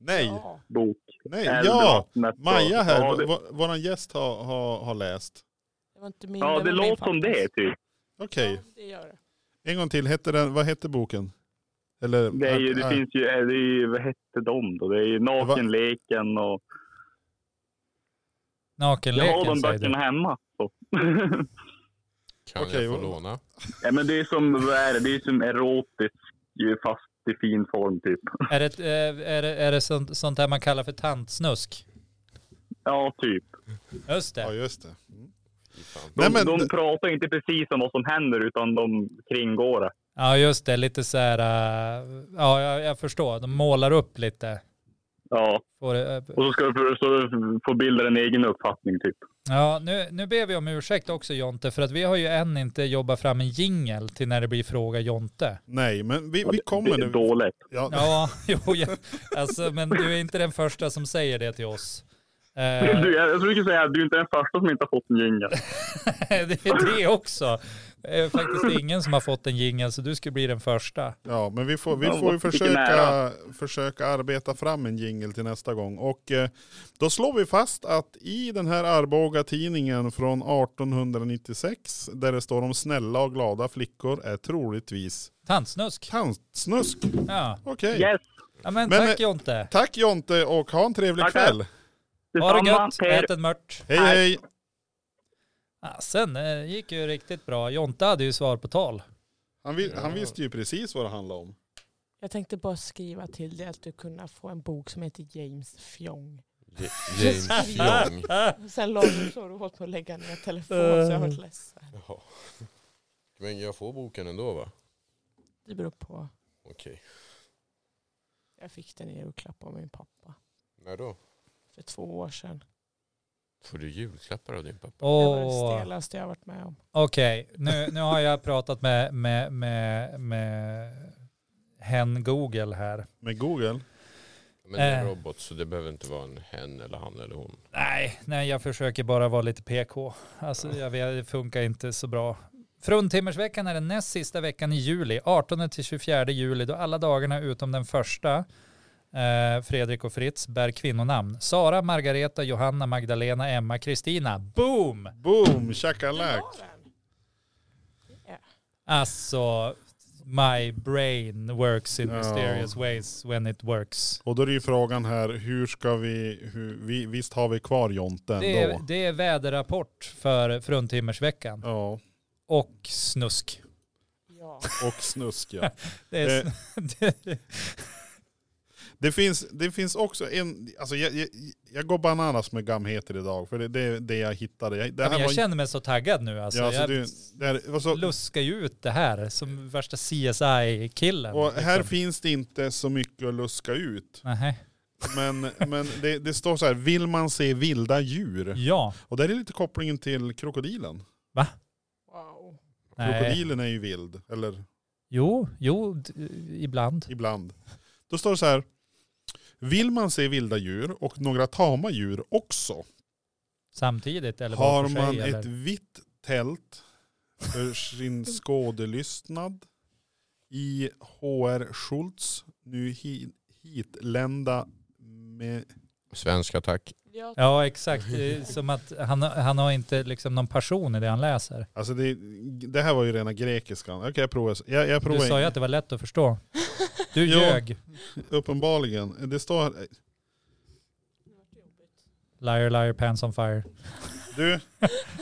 Speaker 1: Nej,
Speaker 4: Ja.
Speaker 5: bok?
Speaker 1: nej,
Speaker 5: Eld i
Speaker 1: ja!
Speaker 5: vattnet och-
Speaker 1: Maja här,
Speaker 5: Ja, det,
Speaker 1: vå- våran gäst har, har, har läst.
Speaker 4: Det var inte min.
Speaker 5: ja,
Speaker 4: var
Speaker 5: det
Speaker 4: min
Speaker 5: låter som
Speaker 4: pappas.
Speaker 5: det typ.
Speaker 1: Okej,
Speaker 4: Ja, det gör det.
Speaker 1: en gång till. Hette den, vad hette boken? Eller,
Speaker 5: Det, är ju, det
Speaker 1: äh,
Speaker 5: finns ju, eh, det är ju, vad hette de då? Det är ju Nakenleken och... Jag har
Speaker 2: Nakenleken
Speaker 5: de
Speaker 2: säger du.
Speaker 5: böckerna hemma. Så. [laughs]
Speaker 3: Kan
Speaker 1: Okej,
Speaker 3: jag
Speaker 1: vad-
Speaker 3: få låna?
Speaker 5: ja, men det är som, vad är det? Det är som erotisk eh, fast i fin form typ. [laughs]
Speaker 2: Är det, eh, är det, är det sånt, sånt här man kallar för tantsnusk?
Speaker 5: Ja, typ.
Speaker 2: Just
Speaker 1: Ja,
Speaker 2: det.
Speaker 1: just det. Mm.
Speaker 3: Fy fan.
Speaker 5: De,
Speaker 1: Nej, men
Speaker 5: de
Speaker 1: det-
Speaker 5: pratar inte precis om vad som händer utan de kringgår det.
Speaker 2: Ja, just det. Lite så här... eh, Ja, jag, jag förstår. De målar upp lite.
Speaker 5: Ja,
Speaker 2: Får, det, eh,
Speaker 5: och så ska du få- så du får bilda en egen uppfattning typ.
Speaker 2: Ja, nu, nu ber vi om ursäkt också Jonte, för att vi har ju än inte jobbat fram en jingel till när det blir fråga Jonte.
Speaker 1: Nej, men vi,
Speaker 5: Ja,
Speaker 1: vi
Speaker 5: det-
Speaker 1: kommer
Speaker 5: det är
Speaker 1: nu.
Speaker 5: dåligt.
Speaker 1: Ja,
Speaker 2: Ja, [laughs] jo, jag, alltså, men du är inte den första som säger det till oss. Eh,
Speaker 5: [laughs] Du, jag jag brukar säga att du är inte den första som inte har fått en jingel.
Speaker 2: [laughs] det är det också. Det är faktiskt ingen som har fått en jingel, så du skulle bli den första.
Speaker 1: Ja, men vi får, vi
Speaker 5: Ja,
Speaker 1: får ju
Speaker 5: vilken
Speaker 1: försöka,
Speaker 5: ära.
Speaker 1: försöka arbeta fram en jingle till nästa gång. Och eh, då slår vi fast att i den här Arboga-tidningen från 1896, där det står om snälla och glada flickor, är troligtvis
Speaker 2: Tantsnusk.
Speaker 1: kantsnusk.
Speaker 2: Ja,
Speaker 1: Okej.
Speaker 5: Yes,
Speaker 2: ja men,
Speaker 1: Men,
Speaker 2: tack
Speaker 1: eh,
Speaker 2: Jonte.
Speaker 1: Tack Jonte och ha en trevlig
Speaker 5: Tackar.
Speaker 1: kväll.
Speaker 2: Ha det
Speaker 5: detsamma.
Speaker 2: gött,
Speaker 5: Per.
Speaker 2: ät en mört.
Speaker 1: Hej
Speaker 5: Tack.
Speaker 1: hej.
Speaker 2: Ja, sen eh, gick ju riktigt bra. Jonte hade ju svar på tal.
Speaker 1: Han, vi, han visste ju precis vad det handlade om.
Speaker 4: Jag tänkte bara skriva till dig att du kunde få en bok som heter James Fjong.
Speaker 3: J- James Young.
Speaker 4: Sen la du så har du hållit på att lägga ner telefonen så jag
Speaker 2: Eh.
Speaker 4: har varit ledsen.
Speaker 3: Jaha. Men jag får boken ändå va?
Speaker 4: Det beror på.
Speaker 3: Okej.
Speaker 4: Jag fick den i julklapp av min pappa
Speaker 3: När då?
Speaker 4: för två år sedan.
Speaker 3: Får du julklappar av din pappa?
Speaker 4: Det var
Speaker 2: [laughs]
Speaker 4: det
Speaker 2: Åh,
Speaker 4: stelaste jag varit med om.
Speaker 2: okej. Nu, nu har jag pratat med, med, med, med hen Google här.
Speaker 1: Med Google.
Speaker 3: Men det är en
Speaker 2: Eh.
Speaker 3: robot så det behöver inte vara en hen eller han eller hon.
Speaker 2: Nej, nej, jag försöker bara vara lite PK. Alltså, jag vet, det funkar inte så bra. Fruntimmersveckan är den näst sista veckan i juli, 18-24 juli, då alla dagarna utom den första, eh, Fredrik och Fritz, bär kvinnonamn. Sara, Margareta, Johanna, Magdalena, Emma, Kristina. Boom!
Speaker 1: Boom shakalak.
Speaker 2: Alltså, my brain works in
Speaker 1: Ja.
Speaker 2: mysterious ways when it works.
Speaker 1: Och då är ju frågan här, hur ska vi, hur, vi visst har vi kvar Jonte
Speaker 2: Det är,
Speaker 1: ändå?
Speaker 2: det är väderrapport för fruntimmersveckan.
Speaker 1: Ja,
Speaker 2: Och snusk.
Speaker 4: Ja.
Speaker 1: och snusk ja.
Speaker 2: [laughs] Det är
Speaker 1: Eh.
Speaker 2: sn-
Speaker 1: Det finns, det finns också en, alltså jag, jag, jag går bananas med gamheter idag för det, det är det jag hittade. Jag, det
Speaker 2: Ja, men jag
Speaker 1: var-
Speaker 2: känner mig så taggad nu alltså.
Speaker 1: ja, alltså,
Speaker 2: jag
Speaker 1: du, det här, alltså,
Speaker 2: luskar ju ut det här som värsta CSI-killen.
Speaker 1: och här
Speaker 2: liksom.
Speaker 1: finns det inte så mycket att luska ut.
Speaker 2: Nähä.
Speaker 1: Men, men det, det står så här, vill man se vilda djur?
Speaker 2: Ja.
Speaker 1: Och där är lite kopplingen till krokodilen.
Speaker 4: Wow.
Speaker 2: Nej.
Speaker 1: Krokodilen är ju vild, eller
Speaker 2: Jo, jo, d- ibland.
Speaker 1: ibland. Då står det så här. Vill man se vilda djur och några tama djur också
Speaker 2: Samtidigt eller var
Speaker 1: Har
Speaker 2: för sig,
Speaker 1: man
Speaker 2: eller?
Speaker 1: ett vitt tält för sin skådelystnad i HR Schultz, nu hi- hitlända med...
Speaker 3: Svensk attack.
Speaker 4: Jag
Speaker 2: Ja, exakt. Det är Som att han, han har inte liksom någon passion i det han läser.
Speaker 1: Alltså det, det här var ju rena grekiskan. Okej jag provar. Jag, jag provar
Speaker 2: Du sa ju att det var lätt att förstå. Du
Speaker 1: Ja.
Speaker 2: ljög.
Speaker 1: Uppenbarligen. Det står...
Speaker 2: Liar, liar, pants on fire.
Speaker 1: Du,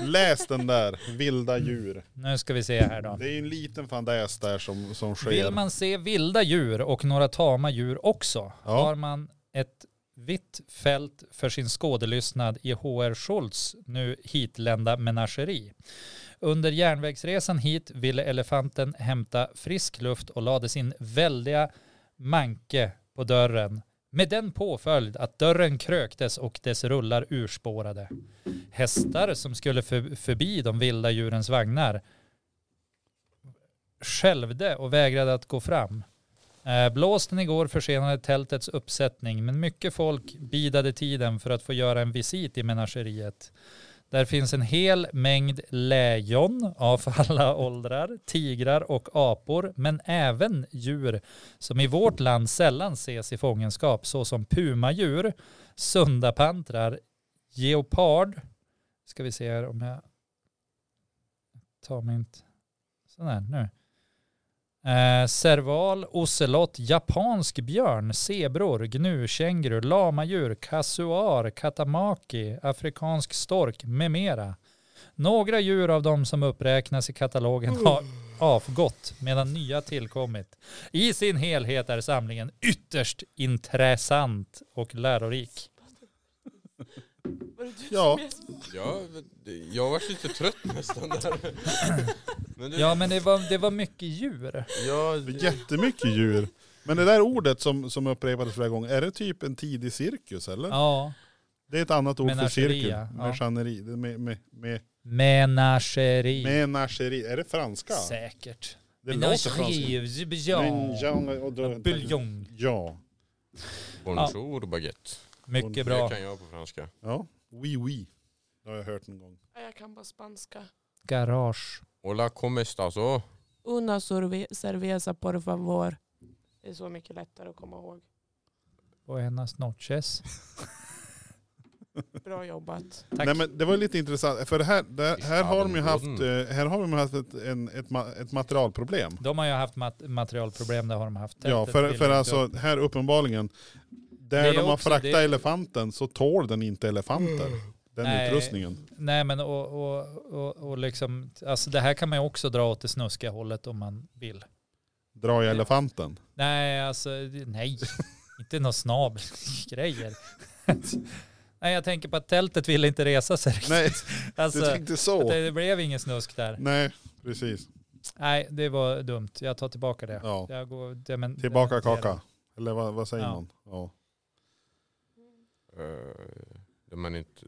Speaker 1: läs den där. Vilda djur.
Speaker 2: Nu ska vi se här då.
Speaker 1: Det är ju en liten fadäs där som, som sker.
Speaker 2: Vill man se vilda djur och några tama djur också
Speaker 1: Ja.
Speaker 2: har man ett vitt fält för sin skådelystnad i H.R. Schultz nu hitlända menageri. Under järnvägsresan hit ville elefanten hämta frisk luft och lade sin väldiga manke på dörren med den påföljd att dörren kröktes och dess rullar urspårade. Hästar som skulle för, förbi de vilda djurens vagnar skälvde och vägrade att gå fram. Eh, Blåsten igår försenade tältets uppsättning men mycket folk bidade tiden för att få göra en visit i menageriet. Där finns en hel mängd lejon av alla åldrar, tigrar och apor men även djur som i vårt land sällan ses i fångenskap såsom pumadjur, sundapantrar, geopard, ska vi se här om jag tar mig inte, sådär nu. Eh, serval, ocelot, japansk björn, zebror, gnukänguru, lamadjur, kasuar, katamaki, afrikansk stork med mera. Några djur av de som uppräknas i katalogen har avgått medan nya tillkommit. I sin helhet är samlingen ytterst intressant och lärorik.
Speaker 4: Var det du
Speaker 1: Ja.
Speaker 4: som
Speaker 3: Ja, jag var lite trött nästan där. Men du,
Speaker 2: Ja men det var, det var mycket djur.
Speaker 3: ja,
Speaker 1: Jättemycket djur. Men det där ordet som, som upprepades flera gånger, är det typ en tidig cirkus eller?
Speaker 2: Ja.
Speaker 1: Det är ett annat ord för
Speaker 2: Menagerie,
Speaker 1: cirkel.
Speaker 2: ja.
Speaker 1: Menageri. Det är Med, med, med,
Speaker 2: Menageri.
Speaker 1: menageri. Är det franska?
Speaker 2: Säkert.
Speaker 1: Det låter franskt.
Speaker 2: Buljong.
Speaker 1: Men- och då-
Speaker 2: Buljong.
Speaker 1: Ja.
Speaker 3: Bonjour baguette.
Speaker 2: Mycket
Speaker 3: Det
Speaker 2: bra.
Speaker 3: kan jag på franska.
Speaker 1: Ja. Oui, oui. Det har jag hört en gång.
Speaker 4: Ja, Jag kan bara spanska.
Speaker 2: Garage.
Speaker 3: Hola, como estás? Oh,
Speaker 4: Una sorve- cerveza por favor. Det är så mycket lättare att komma ihåg.
Speaker 2: Buenas noches.
Speaker 4: Bra jobbat.
Speaker 2: Tack.
Speaker 1: Nej, men det var lite intressant. För det här, det, här har de ju haft,
Speaker 3: Mm.
Speaker 1: eh, här har de haft ett, en, ett, ma- ett materialproblem.
Speaker 2: De har ju haft mat- materialproblem, det har de haft.
Speaker 1: Ja,
Speaker 2: Tältet
Speaker 1: för,
Speaker 2: vill
Speaker 1: för
Speaker 2: inte
Speaker 1: alltså
Speaker 2: upp.
Speaker 1: här uppenbarligen,
Speaker 2: Det
Speaker 1: där
Speaker 2: är
Speaker 1: de har
Speaker 2: också-
Speaker 1: fraktat
Speaker 2: det- Mm.
Speaker 1: elefanten så tål den inte elefanter. Den
Speaker 2: Nej.
Speaker 1: utrustningen.
Speaker 2: Nej, men och, och, och, och liksom, alltså det här kan man ju också dra åt det snuskiga hållet om man vill.
Speaker 1: Dra i
Speaker 2: Ja.
Speaker 1: elefanten.
Speaker 2: Nej, alltså,
Speaker 1: [laughs]
Speaker 2: nej. inte några snabelgrejer. [laughs] nej, jag tänker på att tältet ville inte resa sig riktigt. [laughs]
Speaker 1: Nej,
Speaker 2: alltså,
Speaker 1: du tänkte så.
Speaker 2: det, det blev ingen snusk där.
Speaker 1: Nej, precis.
Speaker 2: Nej, det var dumt. Jag tar tillbaka det.
Speaker 1: Ja.
Speaker 2: Jag går, det, men,
Speaker 1: Tillbaka
Speaker 2: dementerar.
Speaker 1: kaka. Eller vad, vad säger
Speaker 2: Ja.
Speaker 1: man? Ja.
Speaker 3: eh, det, man inte,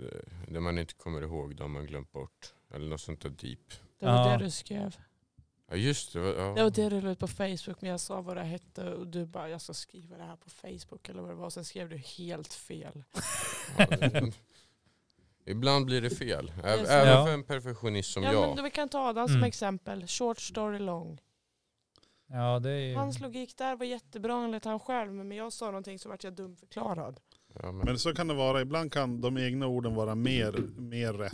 Speaker 3: det man inte kommer ihåg, det har man glömt bort. Eller något sånt där deep.
Speaker 4: Det var
Speaker 2: Ja.
Speaker 4: det du skrev.
Speaker 3: Ja just det. var-
Speaker 4: Det
Speaker 3: Ja.
Speaker 4: var det du la ut på Facebook men jag sa vad det hette och du bara jag ska skriva det här på Facebook eller vad det var. Sen skrev du helt fel.
Speaker 3: Ja, det- [laughs] Ibland blir det fel. Ä-
Speaker 4: är så.
Speaker 3: Även
Speaker 2: Ja.
Speaker 3: för en perfektionist som
Speaker 4: Ja,
Speaker 3: jag.
Speaker 4: men vi kan ta Adam som
Speaker 2: Mm.
Speaker 4: exempel. Short story long.
Speaker 2: Ja, det är ju...
Speaker 4: Hans logik där var jättebra enligt han själv men jag sa någonting så vart jag dumförklarad.
Speaker 3: Ja, men,
Speaker 1: Men så kan det vara. Ibland kan de egna orden vara mer, mer rätt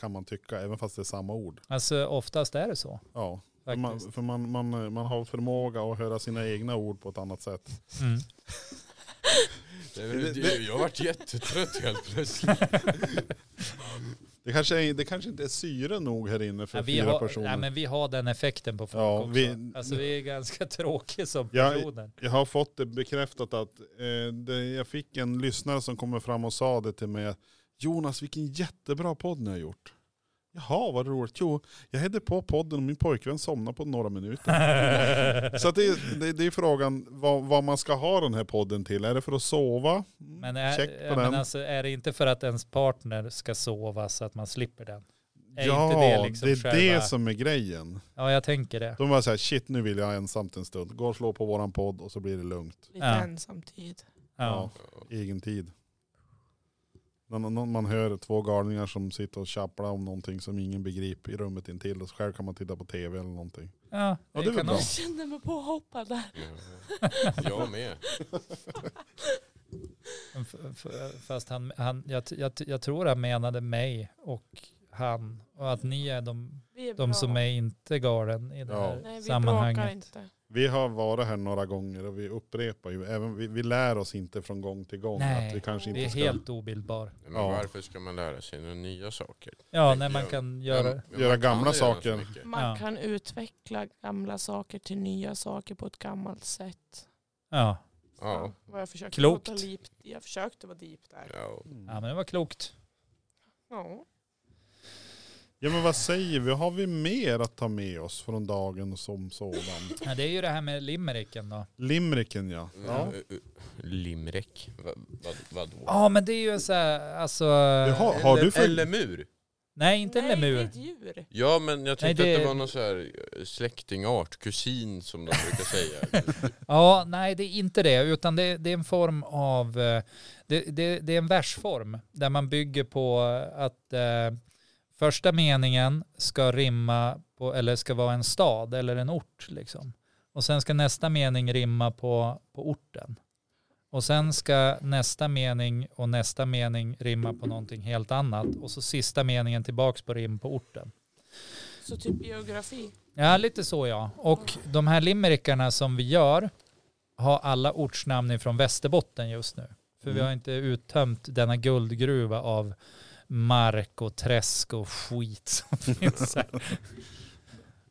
Speaker 1: kan man tycka. Även fast det är samma ord.
Speaker 2: Alltså oftast är det så.
Speaker 1: Ja. För, man,
Speaker 2: Faktiskt.
Speaker 1: för man, man, man har förmåga att höra sina egna ord på ett annat sätt.
Speaker 2: Mm.
Speaker 3: det, det, jag varit jättetrött helt plötsligt.
Speaker 1: Det kanske, är, det kanske inte är syre nog här inne för
Speaker 2: Ja, vi,
Speaker 1: fyra
Speaker 2: har,
Speaker 1: personer.
Speaker 2: nej, men vi har den effekten på folk
Speaker 1: Ja,
Speaker 2: också.
Speaker 1: vi-
Speaker 2: Alltså vi är ganska [laughs] tråkiga som
Speaker 1: Ja,
Speaker 2: personer.
Speaker 1: Jag har fått det bekräftat att eh, det, jag fick en lyssnare som kommer fram och sa det till mig. Jonas vilken jättebra podd ni har gjort. Jaha vad roligt. Jo, jag hade på podden och min pojkvän somnade på några minuter. [laughs] Så att det, är- det, det är frågan vad, vad man ska ha den här podden till. Är det för att sova? Mm,
Speaker 2: Men, är,
Speaker 1: Check på
Speaker 2: ja,
Speaker 1: den.
Speaker 2: men alltså, är det inte för att ens partner ska sova så att man slipper den? är
Speaker 1: ja,
Speaker 2: inte det liksom
Speaker 1: är
Speaker 2: själva-
Speaker 1: det som är grejen.
Speaker 2: Ja, jag tänker det.
Speaker 1: De var så här, shit nu vill jag ensamt en stund. Gå och slå på våran podd och så blir det lugnt.
Speaker 4: Lite
Speaker 2: Ja.
Speaker 4: ensam tid.
Speaker 2: Ja.
Speaker 1: Egen tid. När nå- nå- man hör två galningar som sitter och tjapplar om någonting som ingen begriper i rummet intill och själv kan man titta på tv eller någonting.
Speaker 2: Ja,
Speaker 1: Ja, det är väl
Speaker 2: kan
Speaker 1: bra.
Speaker 2: nog-
Speaker 4: Jag kände mig påhoppad där.
Speaker 3: Jag med.
Speaker 2: Mm, F- f- Fast han, han, jag, t- jag, t- jag tror han menade mig och han. Och att ni är de,
Speaker 4: Vi är bra.
Speaker 2: de som är inte galen i det
Speaker 1: Ja.
Speaker 2: här
Speaker 4: Nej, vi bråkar
Speaker 2: sammanhanget.
Speaker 4: inte.
Speaker 1: Vi har varit här några gånger och vi upprepar ju, även, vi, vi lär oss inte från gång till gång
Speaker 2: Nej,
Speaker 1: att vi kanske
Speaker 2: Det
Speaker 1: inte
Speaker 2: är
Speaker 1: ska
Speaker 2: helt obildbar.
Speaker 3: Men
Speaker 1: Ja.
Speaker 3: Varför ska man lära sig några nya saker?
Speaker 2: Ja, när man kan göra...
Speaker 3: Men man
Speaker 1: Göra
Speaker 3: kan
Speaker 1: gamla
Speaker 3: så
Speaker 1: saker.
Speaker 3: mycket.
Speaker 4: Man
Speaker 2: Ja.
Speaker 4: kan utveckla gamla saker till nya saker på ett gammalt sätt.
Speaker 2: Ja,
Speaker 3: Ja.
Speaker 4: Vad jag försökte
Speaker 2: Klokt.
Speaker 4: låta Deep, jag försökte vara deep där.
Speaker 3: ja.
Speaker 1: Mm.
Speaker 2: ja men det var klokt.
Speaker 4: Ja.
Speaker 1: Ja men vad säger vi, har vi mer att ta med oss från dagen som sådan?
Speaker 2: Ja, det är ju det här med limericken då.
Speaker 1: Limericken ja. ja.
Speaker 3: Eh, Limrek? Va, vad, vadå?
Speaker 2: Ja, men det är ju så här, alltså...
Speaker 1: Jaha, har du för...
Speaker 3: Eller mur?
Speaker 2: Nej, inte en
Speaker 4: Nej, det är
Speaker 2: lemur.
Speaker 4: ett djur.
Speaker 3: Ja men jag tänkte
Speaker 2: det-
Speaker 3: att det var någon så här eh, släktingart, kusin som de brukar säga.
Speaker 4: [laughs]
Speaker 2: Ja, nej det är inte det, utan det, det är en form av, eh, det, det, det är en versform där man bygger på att eh, första meningen ska rimma på, eller ska vara en stad eller en ort liksom. Och sen ska nästa mening rimma på, på orten. Och sen ska nästa mening och nästa mening rimma på någonting helt annat. Och så sista meningen tillbaks på rim på orten.
Speaker 4: Så typ geografi.
Speaker 2: Ja, lite så ja. Och de här limerickarna som vi gör har alla ortsnamn ifrån Västerbotten just nu. För vi
Speaker 1: Mm.
Speaker 2: har inte uttömt denna guldgruva av mark och träsk och skit som finns här.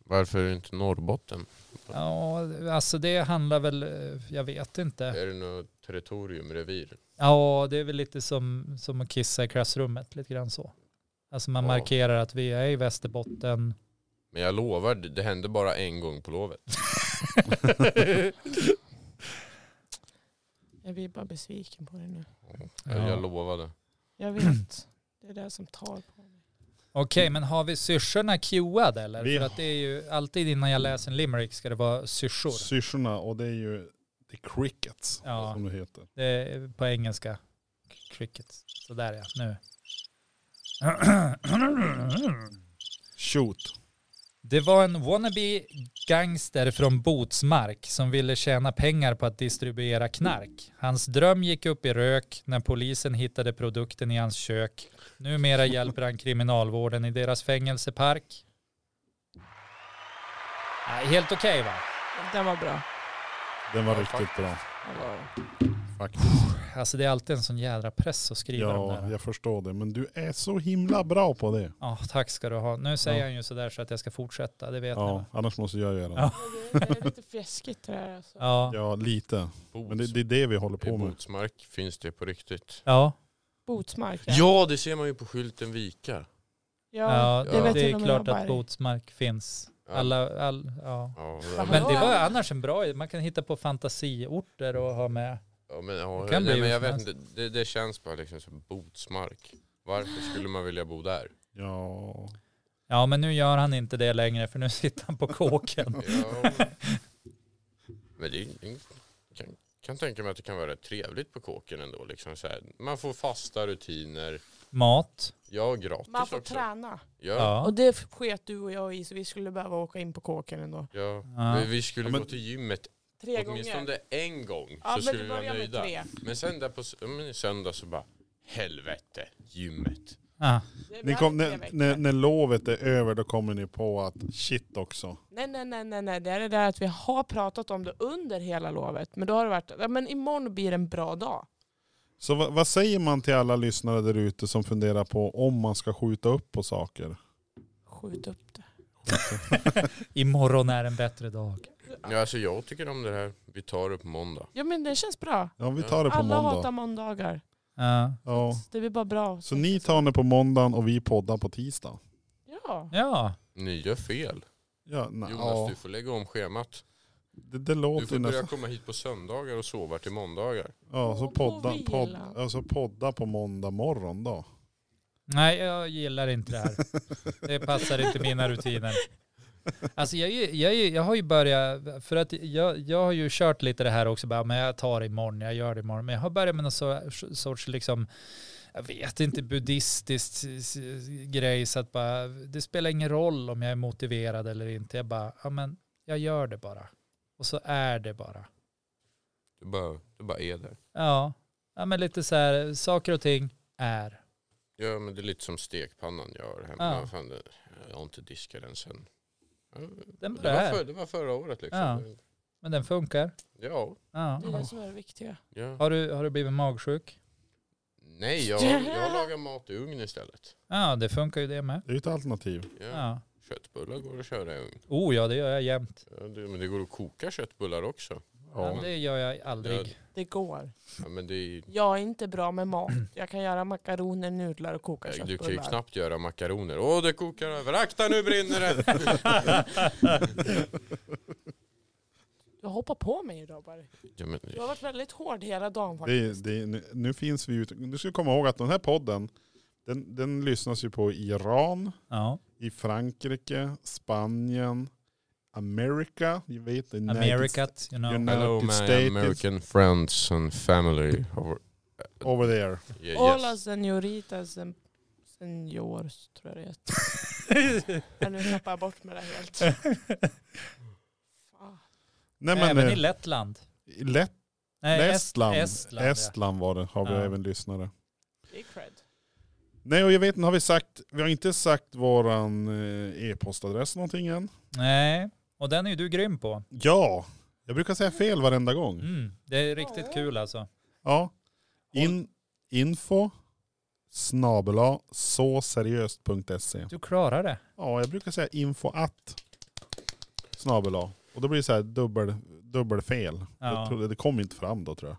Speaker 3: Varför inte Norrbotten?
Speaker 2: Ja, alltså det handlar väl, eh, jag vet inte.
Speaker 3: Är det något territoriumrevir?
Speaker 2: Ja, det är väl lite som, som att kissa i klassrummet, lite grann så. Alltså man
Speaker 3: Ja.
Speaker 2: markerar att vi är i Västerbotten.
Speaker 3: Men jag lovar, det det hände bara en gång på lovet.
Speaker 4: Jag blir bara besviken på det nu.
Speaker 3: Jag-
Speaker 2: Ja.
Speaker 3: Jag lovade.
Speaker 4: Jag vet. Det är det som tar på mig.
Speaker 2: Okej, men har vi syrsorna cuead eller?
Speaker 1: Vi
Speaker 2: För att det är ju alltid innan jag läser en limerick ska det vara syrsor.
Speaker 1: Syrsorna och det är ju The Crickets
Speaker 2: Ja.
Speaker 1: som det heter.
Speaker 2: Det är på engelska. Cricket. Sådär ja, nu. [clears throat]
Speaker 1: Shoot.
Speaker 2: Det var en wannabe gangster från Botsmark som ville tjäna pengar på att distribuera knark. Hans dröm gick upp i rök när polisen hittade produkten i hans kök. Numera hjälper han kriminalvården i deras fängelsepark. Ja, helt okej va?
Speaker 4: Den var bra.
Speaker 1: Den var
Speaker 3: Ja,
Speaker 1: riktigt bra.
Speaker 4: Den
Speaker 3: [laughs]
Speaker 4: var...
Speaker 1: Faktiskt.
Speaker 2: Alltså det är alltid en sån jädra press att skriva de
Speaker 1: Ja,
Speaker 2: där.
Speaker 1: jag förstår det. Men du är så himla bra på det.
Speaker 2: Ja, tack ska du ha. Nu säger
Speaker 1: Ja.
Speaker 2: han ju sådär så att jag ska fortsätta, det vet ni
Speaker 1: Ja,
Speaker 2: va?
Speaker 1: annars måste jag göra det.
Speaker 2: Ja.
Speaker 4: Det är lite fjäskigt det här alltså.
Speaker 2: Ja.
Speaker 1: Ja, lite. Men det, det är det vi håller
Speaker 3: I
Speaker 1: på med.
Speaker 3: Botsmark finns det på riktigt.
Speaker 2: Ja.
Speaker 4: Botsmark.
Speaker 3: Ja, det ser man ju på skylten Vika.
Speaker 2: Ja,
Speaker 4: Ja,
Speaker 2: det,
Speaker 3: vet
Speaker 2: det
Speaker 4: till
Speaker 2: är
Speaker 4: och med
Speaker 2: klart
Speaker 4: Robert.
Speaker 2: att Botsmark finns.
Speaker 3: Ja.
Speaker 2: Alla, all, ja.
Speaker 3: Ja,
Speaker 4: Fan,
Speaker 2: Men
Speaker 4: Ja.
Speaker 2: det var annars en bra, man kan hitta på fantasiorter och ha med.
Speaker 3: Ja, men, ja,
Speaker 2: Det kan
Speaker 3: nej,
Speaker 2: bli
Speaker 3: men jag
Speaker 2: hur
Speaker 3: vet
Speaker 2: som
Speaker 3: inte, det, det känns bara liksom som Botsmark. Varför skulle man vilja
Speaker 2: [laughs]
Speaker 3: bo där?
Speaker 1: Ja.
Speaker 2: Ja men nu gör han inte det längre för nu [laughs] sitter han på kåken.
Speaker 3: Ja. Men det är- kan, kan tänka mig att det kan vara rätt trevligt på kåken ändå. Liksom så här. Man får fasta rutiner.
Speaker 2: Mat,
Speaker 3: Ja, gratis
Speaker 4: Man får
Speaker 3: också.
Speaker 4: träna.
Speaker 3: Ja,
Speaker 2: ja.
Speaker 4: Och det sket du och jag i så vi skulle behöva åka in på kåken ändå.
Speaker 3: ja.
Speaker 2: Ja.
Speaker 3: Vi- Vi skulle
Speaker 1: Ja, men-
Speaker 3: gå till gymmet
Speaker 4: Tre
Speaker 3: åtminstone
Speaker 4: gånger.
Speaker 3: en gång.
Speaker 4: Ja
Speaker 3: så
Speaker 4: men
Speaker 3: skulle
Speaker 4: det
Speaker 3: vi vara
Speaker 4: börjar med
Speaker 3: nöjda.
Speaker 4: tre.
Speaker 3: Men sen där på s- ja, men i söndag så bara helvete, gymmet.
Speaker 2: Ja.
Speaker 4: Det
Speaker 1: Ni
Speaker 4: blir
Speaker 1: kom,
Speaker 4: tre
Speaker 1: när,
Speaker 4: veckor.
Speaker 1: när, när lovet är över då kommer ni på att shit också.
Speaker 4: Nej, nej, nej, nej, nej. Det är det där att vi har pratat om det under hela lovet. Men då har det varit, ja men imorgon blir en bra dag.
Speaker 1: Så vad, vad säger man till alla lyssnare där ute som funderar på om man ska skjuta upp på saker?
Speaker 4: Skjut upp det.
Speaker 2: Imorgon är en bättre dag.
Speaker 3: Ja, alltså jag tycker om det här. Vi tar det på måndag.
Speaker 4: Ja men det känns bra.
Speaker 1: Ja vi tar det på
Speaker 4: Alla
Speaker 1: måndag.
Speaker 4: hatar måndagar.
Speaker 2: Ja.
Speaker 1: Ja.
Speaker 4: Det blir bara bra.
Speaker 1: Så ni tar det på måndagen och vi poddar på tisdag?
Speaker 4: Ja.
Speaker 2: ja.
Speaker 3: Ni gör fel.
Speaker 1: Ja, nej,
Speaker 3: Jonas,
Speaker 1: ja.
Speaker 3: du får lägga om schemat.
Speaker 1: Det, det
Speaker 3: Du
Speaker 1: låter
Speaker 3: får
Speaker 1: ju
Speaker 3: börja
Speaker 1: nästan...
Speaker 3: komma hit på söndagar och sova till måndagar.
Speaker 1: Ja, så
Speaker 4: Gå på
Speaker 1: podda,
Speaker 4: vila.
Speaker 1: podd, alltså podda på måndag morgon då.
Speaker 2: Nej jag gillar inte det här. Det passar inte mina rutiner. Alltså jag, är ju- jag, är ju- jag har ju börjat, för att jag, jag har ju kört lite det här också, bara, men jag tar det imorgon, jag gör det imorgon. Men jag har börjat med någon sorts, sorts liksom, jag vet inte, buddhistiskt s- s- grej, så att bara, det spelar ingen roll om jag är motiverad eller inte. Jag bara, ja men jag gör det bara. Och så är det bara.
Speaker 3: Du bara, du bara är där.
Speaker 2: Ja, ja men lite så här, saker och ting är.
Speaker 3: Ja men det är lite som stekpannan gör hemma.
Speaker 2: Ja.
Speaker 3: Fan, det- jag har inte diskat den sen. Ja,
Speaker 2: Den
Speaker 3: Det var, för,
Speaker 2: är,
Speaker 3: det var förra året liksom.
Speaker 2: Ja. men den funkar.
Speaker 3: Ja.
Speaker 2: Ja.
Speaker 4: Det är det som är det viktiga.
Speaker 3: ja.
Speaker 2: Har du, har du blivit magsjuk?
Speaker 3: Nej jag,
Speaker 4: [laughs]
Speaker 3: jag lagar mat i ugn istället.
Speaker 2: Ja, det funkar ju det med.
Speaker 1: Det är ju ett alternativ.
Speaker 3: Ja.
Speaker 2: Ja.
Speaker 3: Köttbullar går att köra i ugn.
Speaker 2: Oh ja, det gör jag jämt.
Speaker 3: Ja, det, men det går att koka köttbullar också.
Speaker 2: Ja, det gör jag
Speaker 3: Ja.
Speaker 2: aldrig.
Speaker 4: Det går.
Speaker 3: Ja, men det är,
Speaker 4: Jag är inte bra
Speaker 1: [clears throat]
Speaker 4: med mat. Jag kan göra makaroner, nudlar och koka
Speaker 3: du kan ju
Speaker 4: köttbullar.
Speaker 3: knappt göra makaroner. Åh det kokar över, akta nu brinner det!
Speaker 4: Du hoppar på mig idag bara.
Speaker 3: Ja, men,
Speaker 4: Du har varit väldigt hård hela dagen
Speaker 1: Det,
Speaker 4: faktiskt.
Speaker 1: är- det, är- nu- nu finns vi ute. Du ska komma ihåg att den här podden, den, den lyssnas ju på i Iran,
Speaker 2: [laughs] Ja.
Speaker 1: i Frankrike, Spanien, America, you vet, United,
Speaker 2: Americat, you know.
Speaker 1: United
Speaker 3: Hello my
Speaker 1: States
Speaker 3: American friends and family. Over,
Speaker 1: over there.
Speaker 3: yeah,
Speaker 4: Hola
Speaker 3: yes.
Speaker 4: senoritas sen, seniors tror jag det
Speaker 3: [laughs]
Speaker 4: heter. Ja, Nu tappar jag bort mig det helt. Fan.
Speaker 1: Nej men
Speaker 2: Även i
Speaker 1: eh,
Speaker 2: Lettland.
Speaker 1: i Lett,
Speaker 2: Nej,
Speaker 1: Estland,
Speaker 2: Estland,
Speaker 1: Estland,
Speaker 2: ja.
Speaker 1: var det, har vi
Speaker 2: Ja.
Speaker 1: även lyssnare.
Speaker 4: Det är cred.
Speaker 1: Nej och jag vet inte, har vi sagt, vi har inte sagt våran eh, e-postadress någonting än.
Speaker 2: Nej, och den är ju du grym på.
Speaker 1: Ja, jag brukar säga fel varenda gång.
Speaker 2: Mm. Det är riktigt kul alltså.
Speaker 1: Ja. In, info snabela såseriöst.se.
Speaker 2: Du klarar det.
Speaker 1: Ja, jag brukar säga info att snabela. Och då blir det så här dubbel, dubbelfel.
Speaker 2: Ja.
Speaker 1: Jag tror, det kom inte fram då tror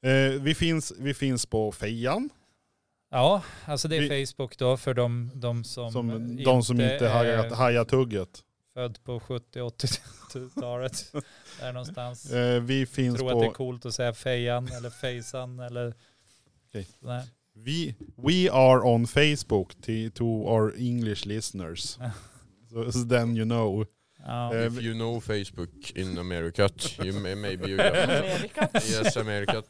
Speaker 1: jag. Eh, vi, finns, vi finns på Fejan.
Speaker 2: Ja, alltså det är
Speaker 1: Vi-
Speaker 2: Facebook då för de, de som,
Speaker 1: Som de som inte hajar,
Speaker 2: är
Speaker 1: hajar tugget.
Speaker 2: född
Speaker 1: [laughs]
Speaker 2: på 70-80-talet. Där någonstans.
Speaker 1: Eh, vi finns
Speaker 2: Tror att det är
Speaker 1: på,
Speaker 2: coolt att säga fejan eller fejsan eller...
Speaker 1: Okej.
Speaker 2: Nej.
Speaker 1: Vi, we are on Facebook to, to our English
Speaker 2: [laughs]
Speaker 1: listeners. so, so then you know.
Speaker 2: Ja. [laughs]
Speaker 1: Eh,
Speaker 3: If you know Facebook in America, you may, maybe you got
Speaker 4: Amerika.
Speaker 3: Yes America.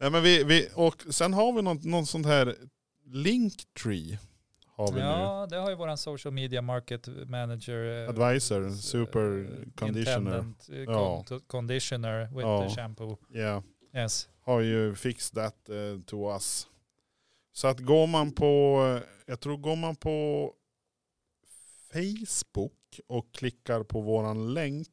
Speaker 1: Nej, men vi, vi, och sen har vi något, någon sånt här Linktree. Har vi
Speaker 2: ja, det har ju våran social media market manager.
Speaker 1: nu.
Speaker 2: eh,
Speaker 1: Advisor,
Speaker 2: eh,
Speaker 1: super conditioner.
Speaker 2: intendant, eh,
Speaker 1: Ja.
Speaker 2: con- Conditioner with
Speaker 1: Ja.
Speaker 2: the shampoo.
Speaker 1: Yeah.
Speaker 2: Yes.
Speaker 1: har ju fixed that eh, to us. Så att går man på, eh, jag tror går man på Facebook och klickar på våran länk,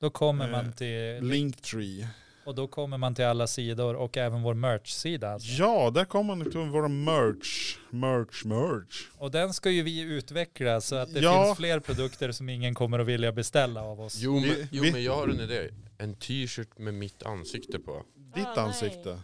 Speaker 2: Då kommer
Speaker 1: Eh,
Speaker 2: man till
Speaker 1: Linktree.
Speaker 2: och då kommer man till alla sidor och även vår merch-sida. alltså.
Speaker 1: Ja, där kommer man till vår merch, merch, merch.
Speaker 2: Och den ska ju vi utveckla så att det
Speaker 1: Ja.
Speaker 2: finns fler produkter som ingen kommer att vilja beställa av oss.
Speaker 3: Jo, men,
Speaker 1: Vi-
Speaker 3: jo
Speaker 1: vi-
Speaker 3: men jag har en idé. En t-shirt med mitt ansikte på.
Speaker 1: Ditt
Speaker 4: Ah, nej.
Speaker 1: ansikte.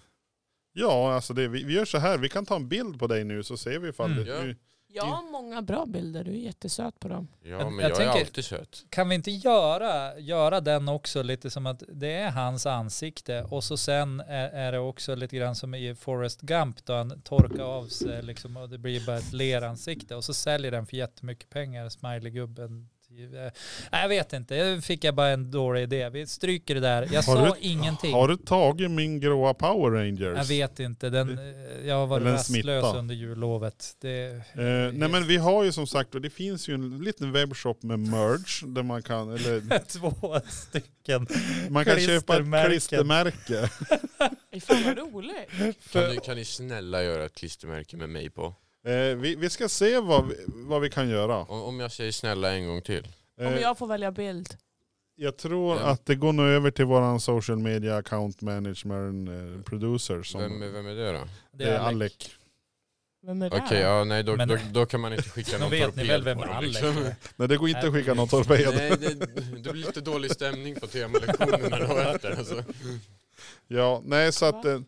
Speaker 1: Ja, alltså det, vi, vi gör så här, vi kan ta en bild på dig nu så ser vi ifall
Speaker 2: Mm.
Speaker 1: det,
Speaker 3: Ja.
Speaker 1: nu-
Speaker 4: Jag har många bra bilder, du är jättesöt på dem.
Speaker 3: Ja
Speaker 2: Jag-
Speaker 3: men
Speaker 2: jag
Speaker 3: jag, är
Speaker 2: tänker-
Speaker 3: alltid söt.
Speaker 2: Kan vi inte göra, göra den också lite som att det är hans ansikte och så sen är, är det också lite grann som i Forrest Gump då han torkar av sig liksom och det blir bara ett leransikte och så säljer den för jättemycket pengar, Smileygubben. Eh, Nej, jag vet inte, jag fick jag bara en dålig idé. Vi stryker det där.
Speaker 1: Har
Speaker 2: Jag sa
Speaker 1: du-
Speaker 2: ingenting.
Speaker 1: har du tagit min gråa Power Rangers?
Speaker 2: Jag vet inte, den, eh, jag har varit
Speaker 1: Eller en
Speaker 2: rastlös
Speaker 1: smitta.
Speaker 2: under jullovet.
Speaker 1: [laughs]
Speaker 2: Det,
Speaker 1: Eh, nej men vi har ju som sagt, och det finns ju en liten webbshop med merch där man kan,
Speaker 2: [laughs]
Speaker 1: eller
Speaker 2: två stycken.
Speaker 1: Man kan köpa ett
Speaker 2: Klistermärken.
Speaker 1: klistermärke.
Speaker 4: Ej, Fan vad
Speaker 3: [laughs]
Speaker 4: roligt.
Speaker 3: Kan ni, kan ni snälla göra ett klistermärke med mig på?
Speaker 1: Eh, vi, vi ska se vad vi, vad vi kan göra.
Speaker 3: Om, om jag säger snälla en gång till.
Speaker 1: Eh,
Speaker 4: Om
Speaker 1: jag...
Speaker 4: jag får välja bild.
Speaker 1: tror
Speaker 3: Ja.
Speaker 1: att det går nu över till våran social media account management eh, producer som
Speaker 3: Vem, är- vem är det då?
Speaker 1: det är Alec.
Speaker 4: Vem är det?
Speaker 3: Okej, ja, nej då,
Speaker 2: Men-
Speaker 3: då, då kan man
Speaker 2: [laughs]
Speaker 3: inte skicka
Speaker 2: Nu
Speaker 3: någon
Speaker 2: vet ni väl vem
Speaker 3: på dem,
Speaker 2: Alec
Speaker 3: liksom.
Speaker 2: är.
Speaker 1: Nej det går inte att skicka någon torped.
Speaker 3: [laughs] Nej, det, det blir lite dålig stämning på temalektionerna då efter. Alltså.
Speaker 1: Ja, nej så att eh,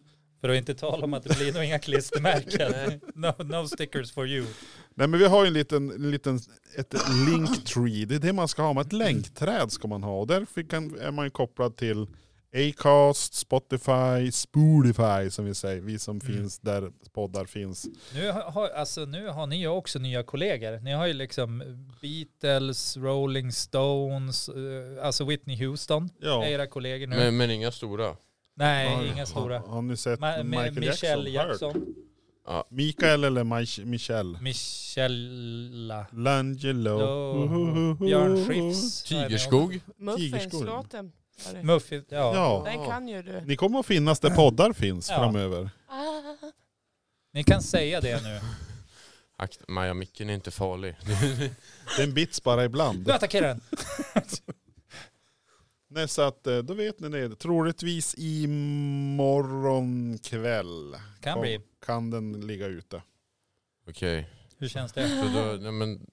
Speaker 2: För att inte tala om att det blir nog inga klistermärken. no, no stickers for you.
Speaker 1: nej men vi har ju en liten, en liten ett linktree. Det är det man ska ha, med ett länkträd ska man ha. Och därför kan, är man ju kopplad till Acast, Spotify, Spotify som vi säger, vi som
Speaker 2: Mm.
Speaker 1: finns där poddar finns.
Speaker 2: Nu har, alltså, nu har ni ju också nya kollegor. Ni har ju liksom Beatles, Rolling Stones, eh, alltså Whitney Houston.
Speaker 1: Ja.
Speaker 2: Är era kollegor nu.
Speaker 3: Men, men inga stora.
Speaker 2: Nej,
Speaker 1: Har-
Speaker 2: inga stora.
Speaker 1: Har, har ni sett
Speaker 2: Ma- med
Speaker 1: Michael
Speaker 2: Michelle
Speaker 1: Jackson?
Speaker 2: Jackson.
Speaker 1: Mikael eller Mich- Michelle?
Speaker 2: Michella.
Speaker 1: Langelo.
Speaker 2: Då-
Speaker 1: Uhuhuhu.
Speaker 2: Björn Skifs.
Speaker 3: Tigerskog?
Speaker 4: Muffinslåten. var det.
Speaker 2: Muffy, ja.
Speaker 1: Ja.
Speaker 4: Den kan ju du.
Speaker 1: Ni kommer att finnas där poddar finns
Speaker 2: Ja.
Speaker 1: framöver.
Speaker 4: Ah,
Speaker 2: Ni kan säga det nu.
Speaker 3: Akt, Maja, micken är inte farlig.
Speaker 1: Den bits bara ibland.
Speaker 2: Du attackerar den.
Speaker 1: Nej, så att, eh, då vet ni det. Troligtvis imorgon kväll
Speaker 2: Kan bli.
Speaker 1: kan den ligga ute.
Speaker 3: Okej,
Speaker 2: Hur känns det?
Speaker 3: så då,
Speaker 2: [laughs]
Speaker 3: nej, men,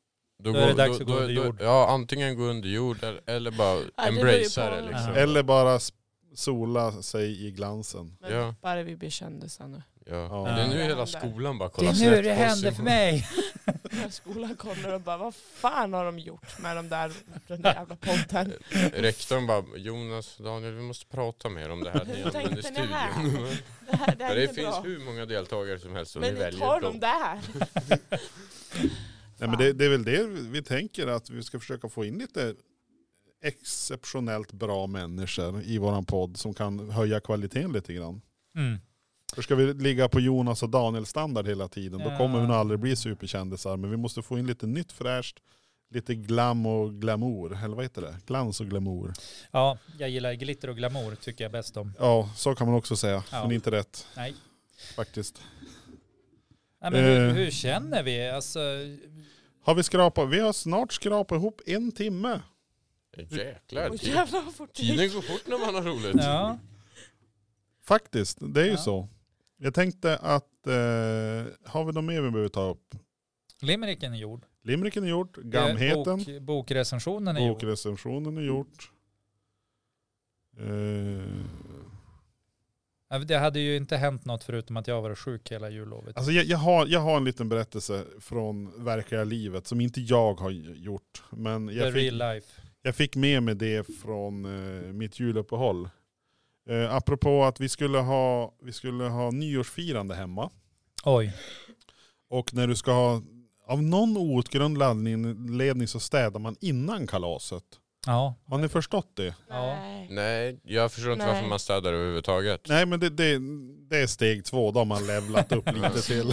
Speaker 3: då,
Speaker 2: Då är det
Speaker 3: går-
Speaker 2: dags att gå under jord.
Speaker 3: ja, antingen gå under jord eller, eller bara
Speaker 4: beror ju
Speaker 3: embracea
Speaker 4: på-
Speaker 3: det liksom.
Speaker 2: Ja.
Speaker 1: Eller bara s- sola sig i glansen.
Speaker 4: men
Speaker 3: Ja.
Speaker 4: bara vi blir kändisar nu.
Speaker 3: Ja.
Speaker 1: Ja.
Speaker 3: Det är nu hela skolan bara
Speaker 2: Det
Speaker 3: kollar
Speaker 2: är nu det
Speaker 3: snett på oss
Speaker 2: händer för
Speaker 3: imorgon.
Speaker 2: mig.
Speaker 4: När skolan kommer och bara, vad fan har de gjort med de där, den där jävla podden?
Speaker 3: Rektorn bara, Jonas, Daniel, vi måste prata mer om det
Speaker 4: [laughs]
Speaker 3: här
Speaker 4: Hur
Speaker 3: ni använder i
Speaker 4: tänkte ni här?
Speaker 3: studion.
Speaker 4: Det här det
Speaker 3: Ja,
Speaker 4: här är
Speaker 3: det
Speaker 4: inte
Speaker 3: finns
Speaker 4: bra.
Speaker 3: hur många deltagare som helst och
Speaker 4: Men
Speaker 3: ni
Speaker 4: ni
Speaker 3: väljer
Speaker 4: tar
Speaker 3: dem.
Speaker 4: de där.
Speaker 1: Nej, men det, det är väl det vi tänker, att vi ska försöka få in lite exceptionellt bra människor i våran podd som kan höja kvaliteten lite grann.
Speaker 2: Mm.
Speaker 1: För ska vi ligga på Jonas och Daniel standard hela tiden då
Speaker 2: Ja.
Speaker 1: kommer vi nog aldrig bli superkändisar. Men vi måste få in lite nytt fräscht, lite glam och glamour. Eller vad heter det? Glans och glamour.
Speaker 2: Ja, jag gillar glitter och glamour tycker jag bäst om.
Speaker 1: Ja, så kan man också säga.
Speaker 2: Ja.
Speaker 1: Men inte rätt
Speaker 2: Nej.
Speaker 1: faktiskt.
Speaker 2: Nej, men hur,
Speaker 1: Eh.
Speaker 2: hur känner vi? Alltså,
Speaker 1: Har vi skrapat? Vi har snart skrapat ihop en timme.
Speaker 3: Jäklar,
Speaker 4: Och
Speaker 3: tid-
Speaker 4: jävlar vad fort det
Speaker 3: tiden
Speaker 4: gick.
Speaker 3: går fort när man har roligt.
Speaker 2: ja.
Speaker 1: Faktiskt, det är ju
Speaker 2: Ja.
Speaker 1: så. Jag tänkte att, eh, har vi något mer vi behöver ta upp?
Speaker 2: Limericken är gjord.
Speaker 1: Limericken är gjort,
Speaker 2: Eh,
Speaker 1: Gamheten,
Speaker 2: Bok, bokrecensionen är gjord.
Speaker 1: bokrecensionen är gjort. Eh,
Speaker 2: Ja, Det hade ju inte hänt något förutom att jag var sjuk hela jullovet.
Speaker 1: Alltså jag, jag, har, jag har en liten berättelse från verkliga livet som inte jag har gjort. Men
Speaker 2: The
Speaker 1: jag fick,
Speaker 2: real life.
Speaker 1: jag fick med mig det från eh, mitt juluppehåll. Eh, apropå att vi skulle, ha, vi skulle ha nyårsfirande hemma.
Speaker 2: Oj.
Speaker 1: Och när du ska ha, av någon outgrundlig anledning så städar man innan kalaset.
Speaker 2: Ja.
Speaker 1: Har ni förstått det?
Speaker 2: Ja.
Speaker 4: Nej.
Speaker 3: Nej, jag förstår inte
Speaker 4: Nej.
Speaker 3: varför man städar överhuvudtaget.
Speaker 1: Nej men det, det, det är steg två, då har man levlat upp lite till.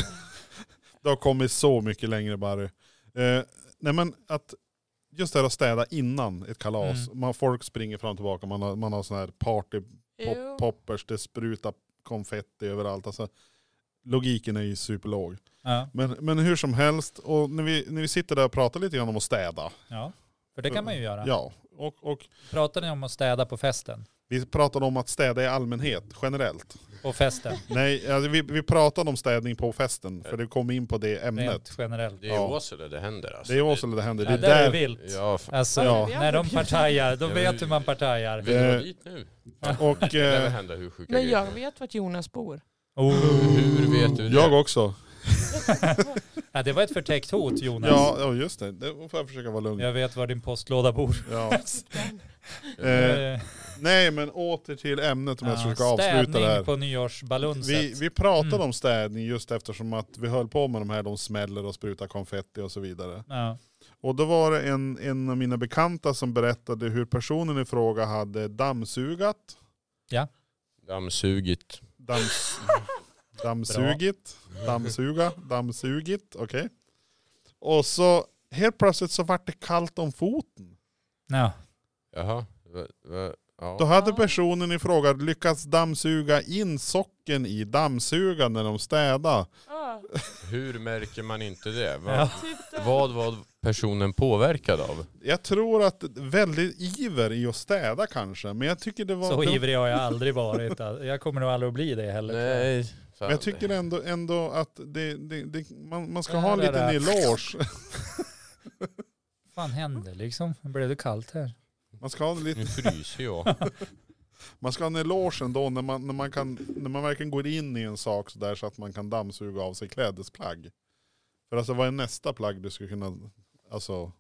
Speaker 1: Det har kommit så mycket längre Barry. Eh, nej men att just det här att städa innan ett kalas. Man, folk springer fram och tillbaka, man har, man har sån här party
Speaker 4: Jo.
Speaker 1: pop, poppers, det sprutar konfetti överallt. Alltså, logiken är ju superlåg.
Speaker 2: Ja.
Speaker 1: Men, men hur som helst, och när vi, när vi sitter där och pratar lite grann om att städa.
Speaker 2: ja. För det kan man ju göra.
Speaker 1: Ja, och, och
Speaker 2: Pratar ni om att städa på festen?
Speaker 1: vi pratade om att städa i allmänhet, generellt.
Speaker 2: På festen,
Speaker 1: Nej, alltså, vi, vi pratade om städning på festen, för du kom in på det ämnet.
Speaker 2: rent generellt.
Speaker 3: Det är i
Speaker 1: Ja.
Speaker 3: Åsele det händer alltså.
Speaker 1: Det är ju Åsele det händer.
Speaker 2: alltså,
Speaker 1: det
Speaker 2: Ja,
Speaker 1: är
Speaker 2: där är
Speaker 1: där.
Speaker 2: vilt.
Speaker 3: Ja, fan.
Speaker 2: Alltså,
Speaker 1: Ja.
Speaker 2: när de partajar, då vet hur man partajar.
Speaker 3: Vill du
Speaker 1: Eh.
Speaker 3: gå dit nu?
Speaker 2: [laughs]
Speaker 1: Och
Speaker 3: Det lär väl
Speaker 1: eh,
Speaker 3: hända hur sjuka
Speaker 4: [laughs] Men jag
Speaker 3: [laughs] grejer.
Speaker 4: vet vart Jonas bor.
Speaker 2: Oh.
Speaker 3: Hur vet du det?
Speaker 1: jag också.
Speaker 2: Ja, det var ett förtäckt hot Jonas.
Speaker 1: Ja, ja, just det. Det får jag försöka vara lugn.
Speaker 2: Jag vet var din
Speaker 1: [laughs]
Speaker 2: postlåda bor.
Speaker 1: Ja. Eh,
Speaker 2: Eh,
Speaker 1: nej, men åter till ämnet om jag
Speaker 2: ja,
Speaker 1: ska avsluta det här.
Speaker 2: Städning på nyårsbalunset.
Speaker 1: Vi, vi pratade
Speaker 2: Mm.
Speaker 1: om städning just eftersom att vi höll på med de här, de smäller och sprutar konfetti och så vidare.
Speaker 2: Ja.
Speaker 1: Och då var det en, en av mina bekanta som berättade hur personen i fråga hade dammsugat,
Speaker 3: Dammsugit.
Speaker 1: damms, dammsugit, dammsuga, dammsugit, okej. Och så helt plötsligt så vart det kallt om foten.
Speaker 2: Ja.
Speaker 3: Jaha. Va, va,
Speaker 1: Då
Speaker 3: ja.
Speaker 1: hade
Speaker 4: Ja.
Speaker 1: personen i fråga lyckats dammsuga in socken i dammsugaren när de städade.
Speaker 4: [laughs] Ja,
Speaker 3: Hur märker man inte det? Va,
Speaker 2: Ja.
Speaker 4: titta.
Speaker 3: Vad var personen påverkad av?
Speaker 1: Jag tror att väldigt iver i att städa kanske, men jag tycker det var...
Speaker 2: Så
Speaker 1: det var
Speaker 2: ivrig
Speaker 1: [laughs]
Speaker 2: har jag aldrig varit. Jag kommer nog aldrig att bli det heller.
Speaker 3: Nej.
Speaker 1: Men
Speaker 3: Fan.
Speaker 1: jag tycker ändå, ändå att det, det, det, man, man ska ha en
Speaker 2: Där,
Speaker 1: liten
Speaker 2: där, där.
Speaker 1: eloge.
Speaker 2: Vad fan hände liksom? Blev det kallt här?
Speaker 1: Man ska ha en,
Speaker 3: Nu
Speaker 1: liten,
Speaker 3: fryser jag.
Speaker 1: man ska ha en eloge ändå när man, när, man kan, när man verkligen går in i en sak så där så att man kan dammsuga av sig klädesplagg. För alltså vad är nästa plagg du ska kunna, alltså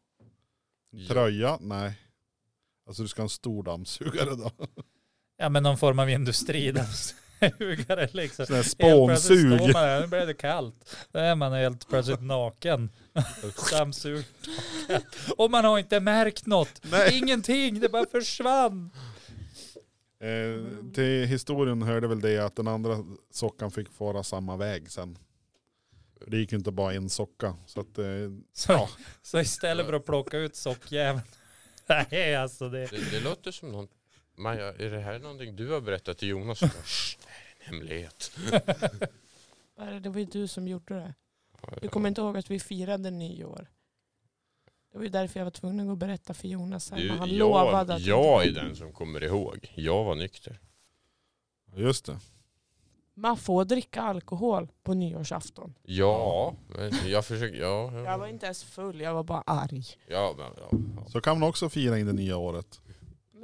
Speaker 1: tröja? Nej. Alltså du ska ha en stor dammsugare [laughs] då.
Speaker 2: Ja men någon form av industri.
Speaker 1: [laughs]
Speaker 2: Sugare liksom.
Speaker 1: Sån här
Speaker 2: Helt plötsligt står
Speaker 1: spånsug.
Speaker 2: man där, Nu blev det kallt. Då är man helt
Speaker 1: [laughs]
Speaker 2: plötsligt naken. Dammsug. Och man har inte märkt något.
Speaker 1: Nej.
Speaker 2: Ingenting, det bara försvann.
Speaker 1: Eh, till historien hörde väl det att den andra sockan fick fara samma väg sen. Det gick ju inte bara en socka. Så att, eh,
Speaker 2: Så,
Speaker 1: Ja.
Speaker 2: så istället för att plocka ut sockjäveln. [laughs] Nej alltså det.
Speaker 3: Det, det låter som någon... Maja, är det här någonting du har berättat till Jonas? Jag bara, "Shh, Det här är en hemlighet.
Speaker 4: Det var ju du som gjorde det. Du kommer inte ihåg att vi firade nyår. Det var ju därför jag var tvungen att gå och berätta för Jonas här.
Speaker 3: Du,
Speaker 4: men han
Speaker 3: jag,
Speaker 4: lovade att
Speaker 3: Jag är den som kommer ihåg. Jag var nykter.
Speaker 1: just det.
Speaker 4: man får dricka alkohol på nyårsafton.
Speaker 3: Ja, men jag försöker... Ja, ja.
Speaker 4: Jag var inte ens full, jag var bara arg.
Speaker 3: Ja, men, ja, ja. Alltså,
Speaker 1: Så kan man också fira in det nya året.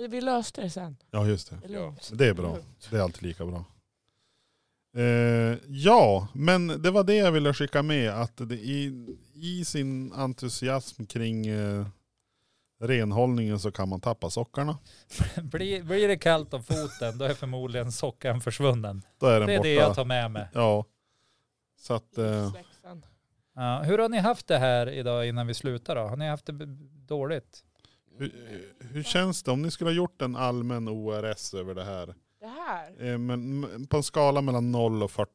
Speaker 4: Men vi löste det sen.
Speaker 1: Ja just det.
Speaker 4: Det är lugnt.
Speaker 1: Det är bra. Det är alltid lika bra. Eh, ja, men det var det jag ville skicka med. Att det i, I sin entusiasm kring eh, renhållningen så kan man tappa sockarna.
Speaker 2: [laughs] Blir, blir det kallt om foten då är förmodligen sockan försvunnen.
Speaker 1: Då är den
Speaker 2: Det är
Speaker 1: borta.
Speaker 2: det jag tar med mig.
Speaker 1: Ja. Så att, eh,
Speaker 4: Livsläxan.
Speaker 2: Ja, hur har ni haft det här idag innan vi slutar då? Har ni haft det b- dåligt?
Speaker 1: hur, hur känns det om ni skulle ha gjort en allmän ORS över det här?
Speaker 4: Det här,
Speaker 1: Eh, men, m- på en skala mellan 0 och 40.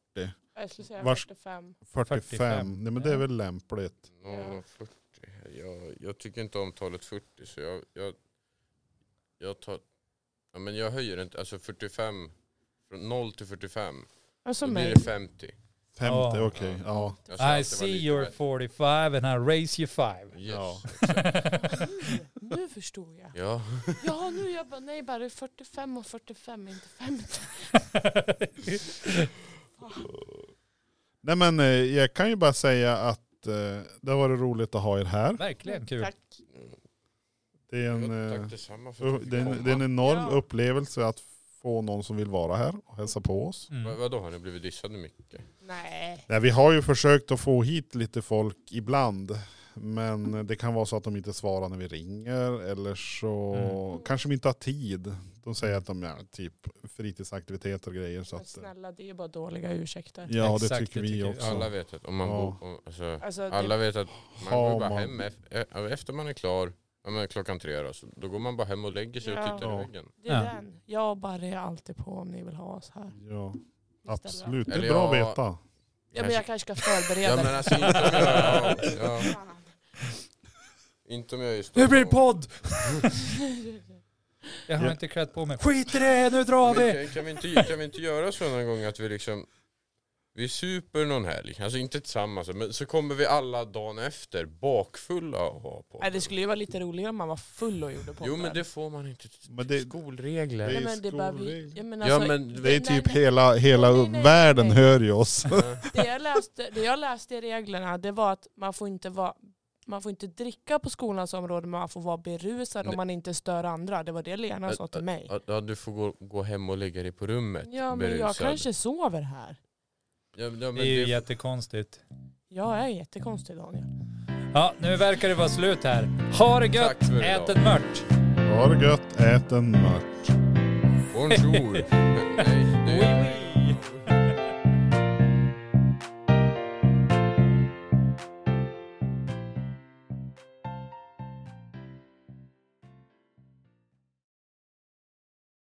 Speaker 4: jag skulle säga
Speaker 1: Vars-
Speaker 4: 45.
Speaker 1: 45,
Speaker 2: 45,
Speaker 1: Nej, men det är
Speaker 2: ja.
Speaker 1: väl lämpligt.
Speaker 3: Ja, 40. Jag, jag tycker inte om talet 40 så jag, jag, jag tar... Ja, men jag höjer inte, alltså 45, från 0 till 45,
Speaker 4: Alltså
Speaker 3: då blir
Speaker 4: mig.
Speaker 3: det 50.
Speaker 1: 50, okej. Ja.
Speaker 2: Ja.
Speaker 3: Jag känner att det var
Speaker 2: I see
Speaker 3: lite
Speaker 2: you're
Speaker 3: väl-
Speaker 2: 45 and I raise you five.
Speaker 3: Yes,
Speaker 1: Ja.
Speaker 3: exakt.
Speaker 4: Nu förstod jag.
Speaker 3: Ja, [laughs]
Speaker 4: Ja, nu jag bara, nej bara 45 och 45, inte 50.
Speaker 1: Nej men eh, jag kan ju bara säga att eh, det har varit roligt att ha er här.
Speaker 2: [laughs] Verkligen kul.
Speaker 4: Tack.
Speaker 1: Det är en,
Speaker 3: ja,
Speaker 1: eh,
Speaker 3: tack detsamma för att
Speaker 1: u-
Speaker 3: du fick
Speaker 1: det är en, det är en
Speaker 3: komma.
Speaker 1: enorm
Speaker 4: Ja.
Speaker 1: upplevelse att få någon som vill vara här och hälsa på oss.
Speaker 3: Vad-
Speaker 2: Mm.
Speaker 3: Vadå, har ni blivit dissade mycket?
Speaker 4: Nej.
Speaker 1: Nej, vi har ju försökt att få hit lite folk ibland. Men det kan vara så att de inte svarar när vi ringer eller så
Speaker 2: Mm.
Speaker 1: kanske de inte har tid. De säger att de är typ fritidsaktiviteter och grejer. Så
Speaker 4: Men
Speaker 1: att,
Speaker 4: snälla, det är bara dåliga ursäkter.
Speaker 1: ja, det
Speaker 2: Exakt,
Speaker 1: tycker
Speaker 2: det
Speaker 1: vi
Speaker 2: tycker vi.
Speaker 1: också.
Speaker 3: Alla vet att om man
Speaker 1: Ja.
Speaker 3: bor på, alltså,
Speaker 4: Alltså, det,
Speaker 3: alla vet att man
Speaker 1: Har
Speaker 3: går bara
Speaker 1: man-
Speaker 3: hem efter, efter man är klar, ja, men klockan tre då, så då går man bara hem och lägger sig och
Speaker 4: Ja.
Speaker 3: tittar
Speaker 1: Ja.
Speaker 3: i väggen.
Speaker 4: det är
Speaker 2: Ja.
Speaker 4: den. Jag bara är alltid på om ni vill ha oss här.
Speaker 1: Ja,
Speaker 4: Istället.
Speaker 1: absolut. Det är
Speaker 3: Eller
Speaker 1: bra att
Speaker 3: jag-
Speaker 1: veta.
Speaker 4: Ja, men jag kanske ska förbereda
Speaker 3: Ja men alltså inte
Speaker 4: [laughs]
Speaker 3: om jag, ja, ja,
Speaker 4: Fan.
Speaker 3: inte om jag just
Speaker 2: Nu blir det podd! Jag har
Speaker 1: Ja.
Speaker 2: inte klätt på mig. Skit i det, nu drar
Speaker 3: Men
Speaker 2: vi!
Speaker 3: kan, kan, vi inte, kan vi inte göra så någon gång att vi liksom vi super någon helg, alltså inte tillsammans, men så kommer vi alla dagen efter bakfulla och ha på.
Speaker 4: Nej, det skulle ju vara lite roligare om man var full och gjorde på
Speaker 3: Jo men det får man inte.
Speaker 1: Men det,
Speaker 3: Skolregler.
Speaker 1: det
Speaker 4: Nej,
Speaker 1: är
Speaker 4: men det bara vi,
Speaker 1: skolregler.
Speaker 4: ja, men
Speaker 3: Ja
Speaker 4: alltså,
Speaker 3: men
Speaker 1: det är
Speaker 4: Nej,
Speaker 1: typ
Speaker 4: nej.
Speaker 1: hela, hela
Speaker 4: Nej, nej, nej,
Speaker 1: världen
Speaker 4: nej.
Speaker 1: hör ju oss.
Speaker 4: det, jag läste, det jag läste i reglerna det var att man får inte vara man får inte dricka på skolans område men man får vara berusad
Speaker 3: Nej.
Speaker 4: om man inte stör andra. Det var det Lena
Speaker 3: Ä-
Speaker 4: sa till mig.
Speaker 3: Ja, Ja, du får gå, gå hem och lägga dig på rummet
Speaker 4: Ja men jag
Speaker 3: berusad.
Speaker 4: kanske sover här.
Speaker 3: Ja, men- ja, men
Speaker 2: Det är ju
Speaker 3: det-
Speaker 2: jättekonstigt.
Speaker 4: Jag är jättekonstig Daniel.
Speaker 2: Ja, nu verkar det vara slut här. Ha det gött,
Speaker 3: Tack för idag.
Speaker 2: ät en mört!
Speaker 1: Ha det gött, ät en mört.
Speaker 2: [laughs]
Speaker 3: Bonjour! Nej, det är-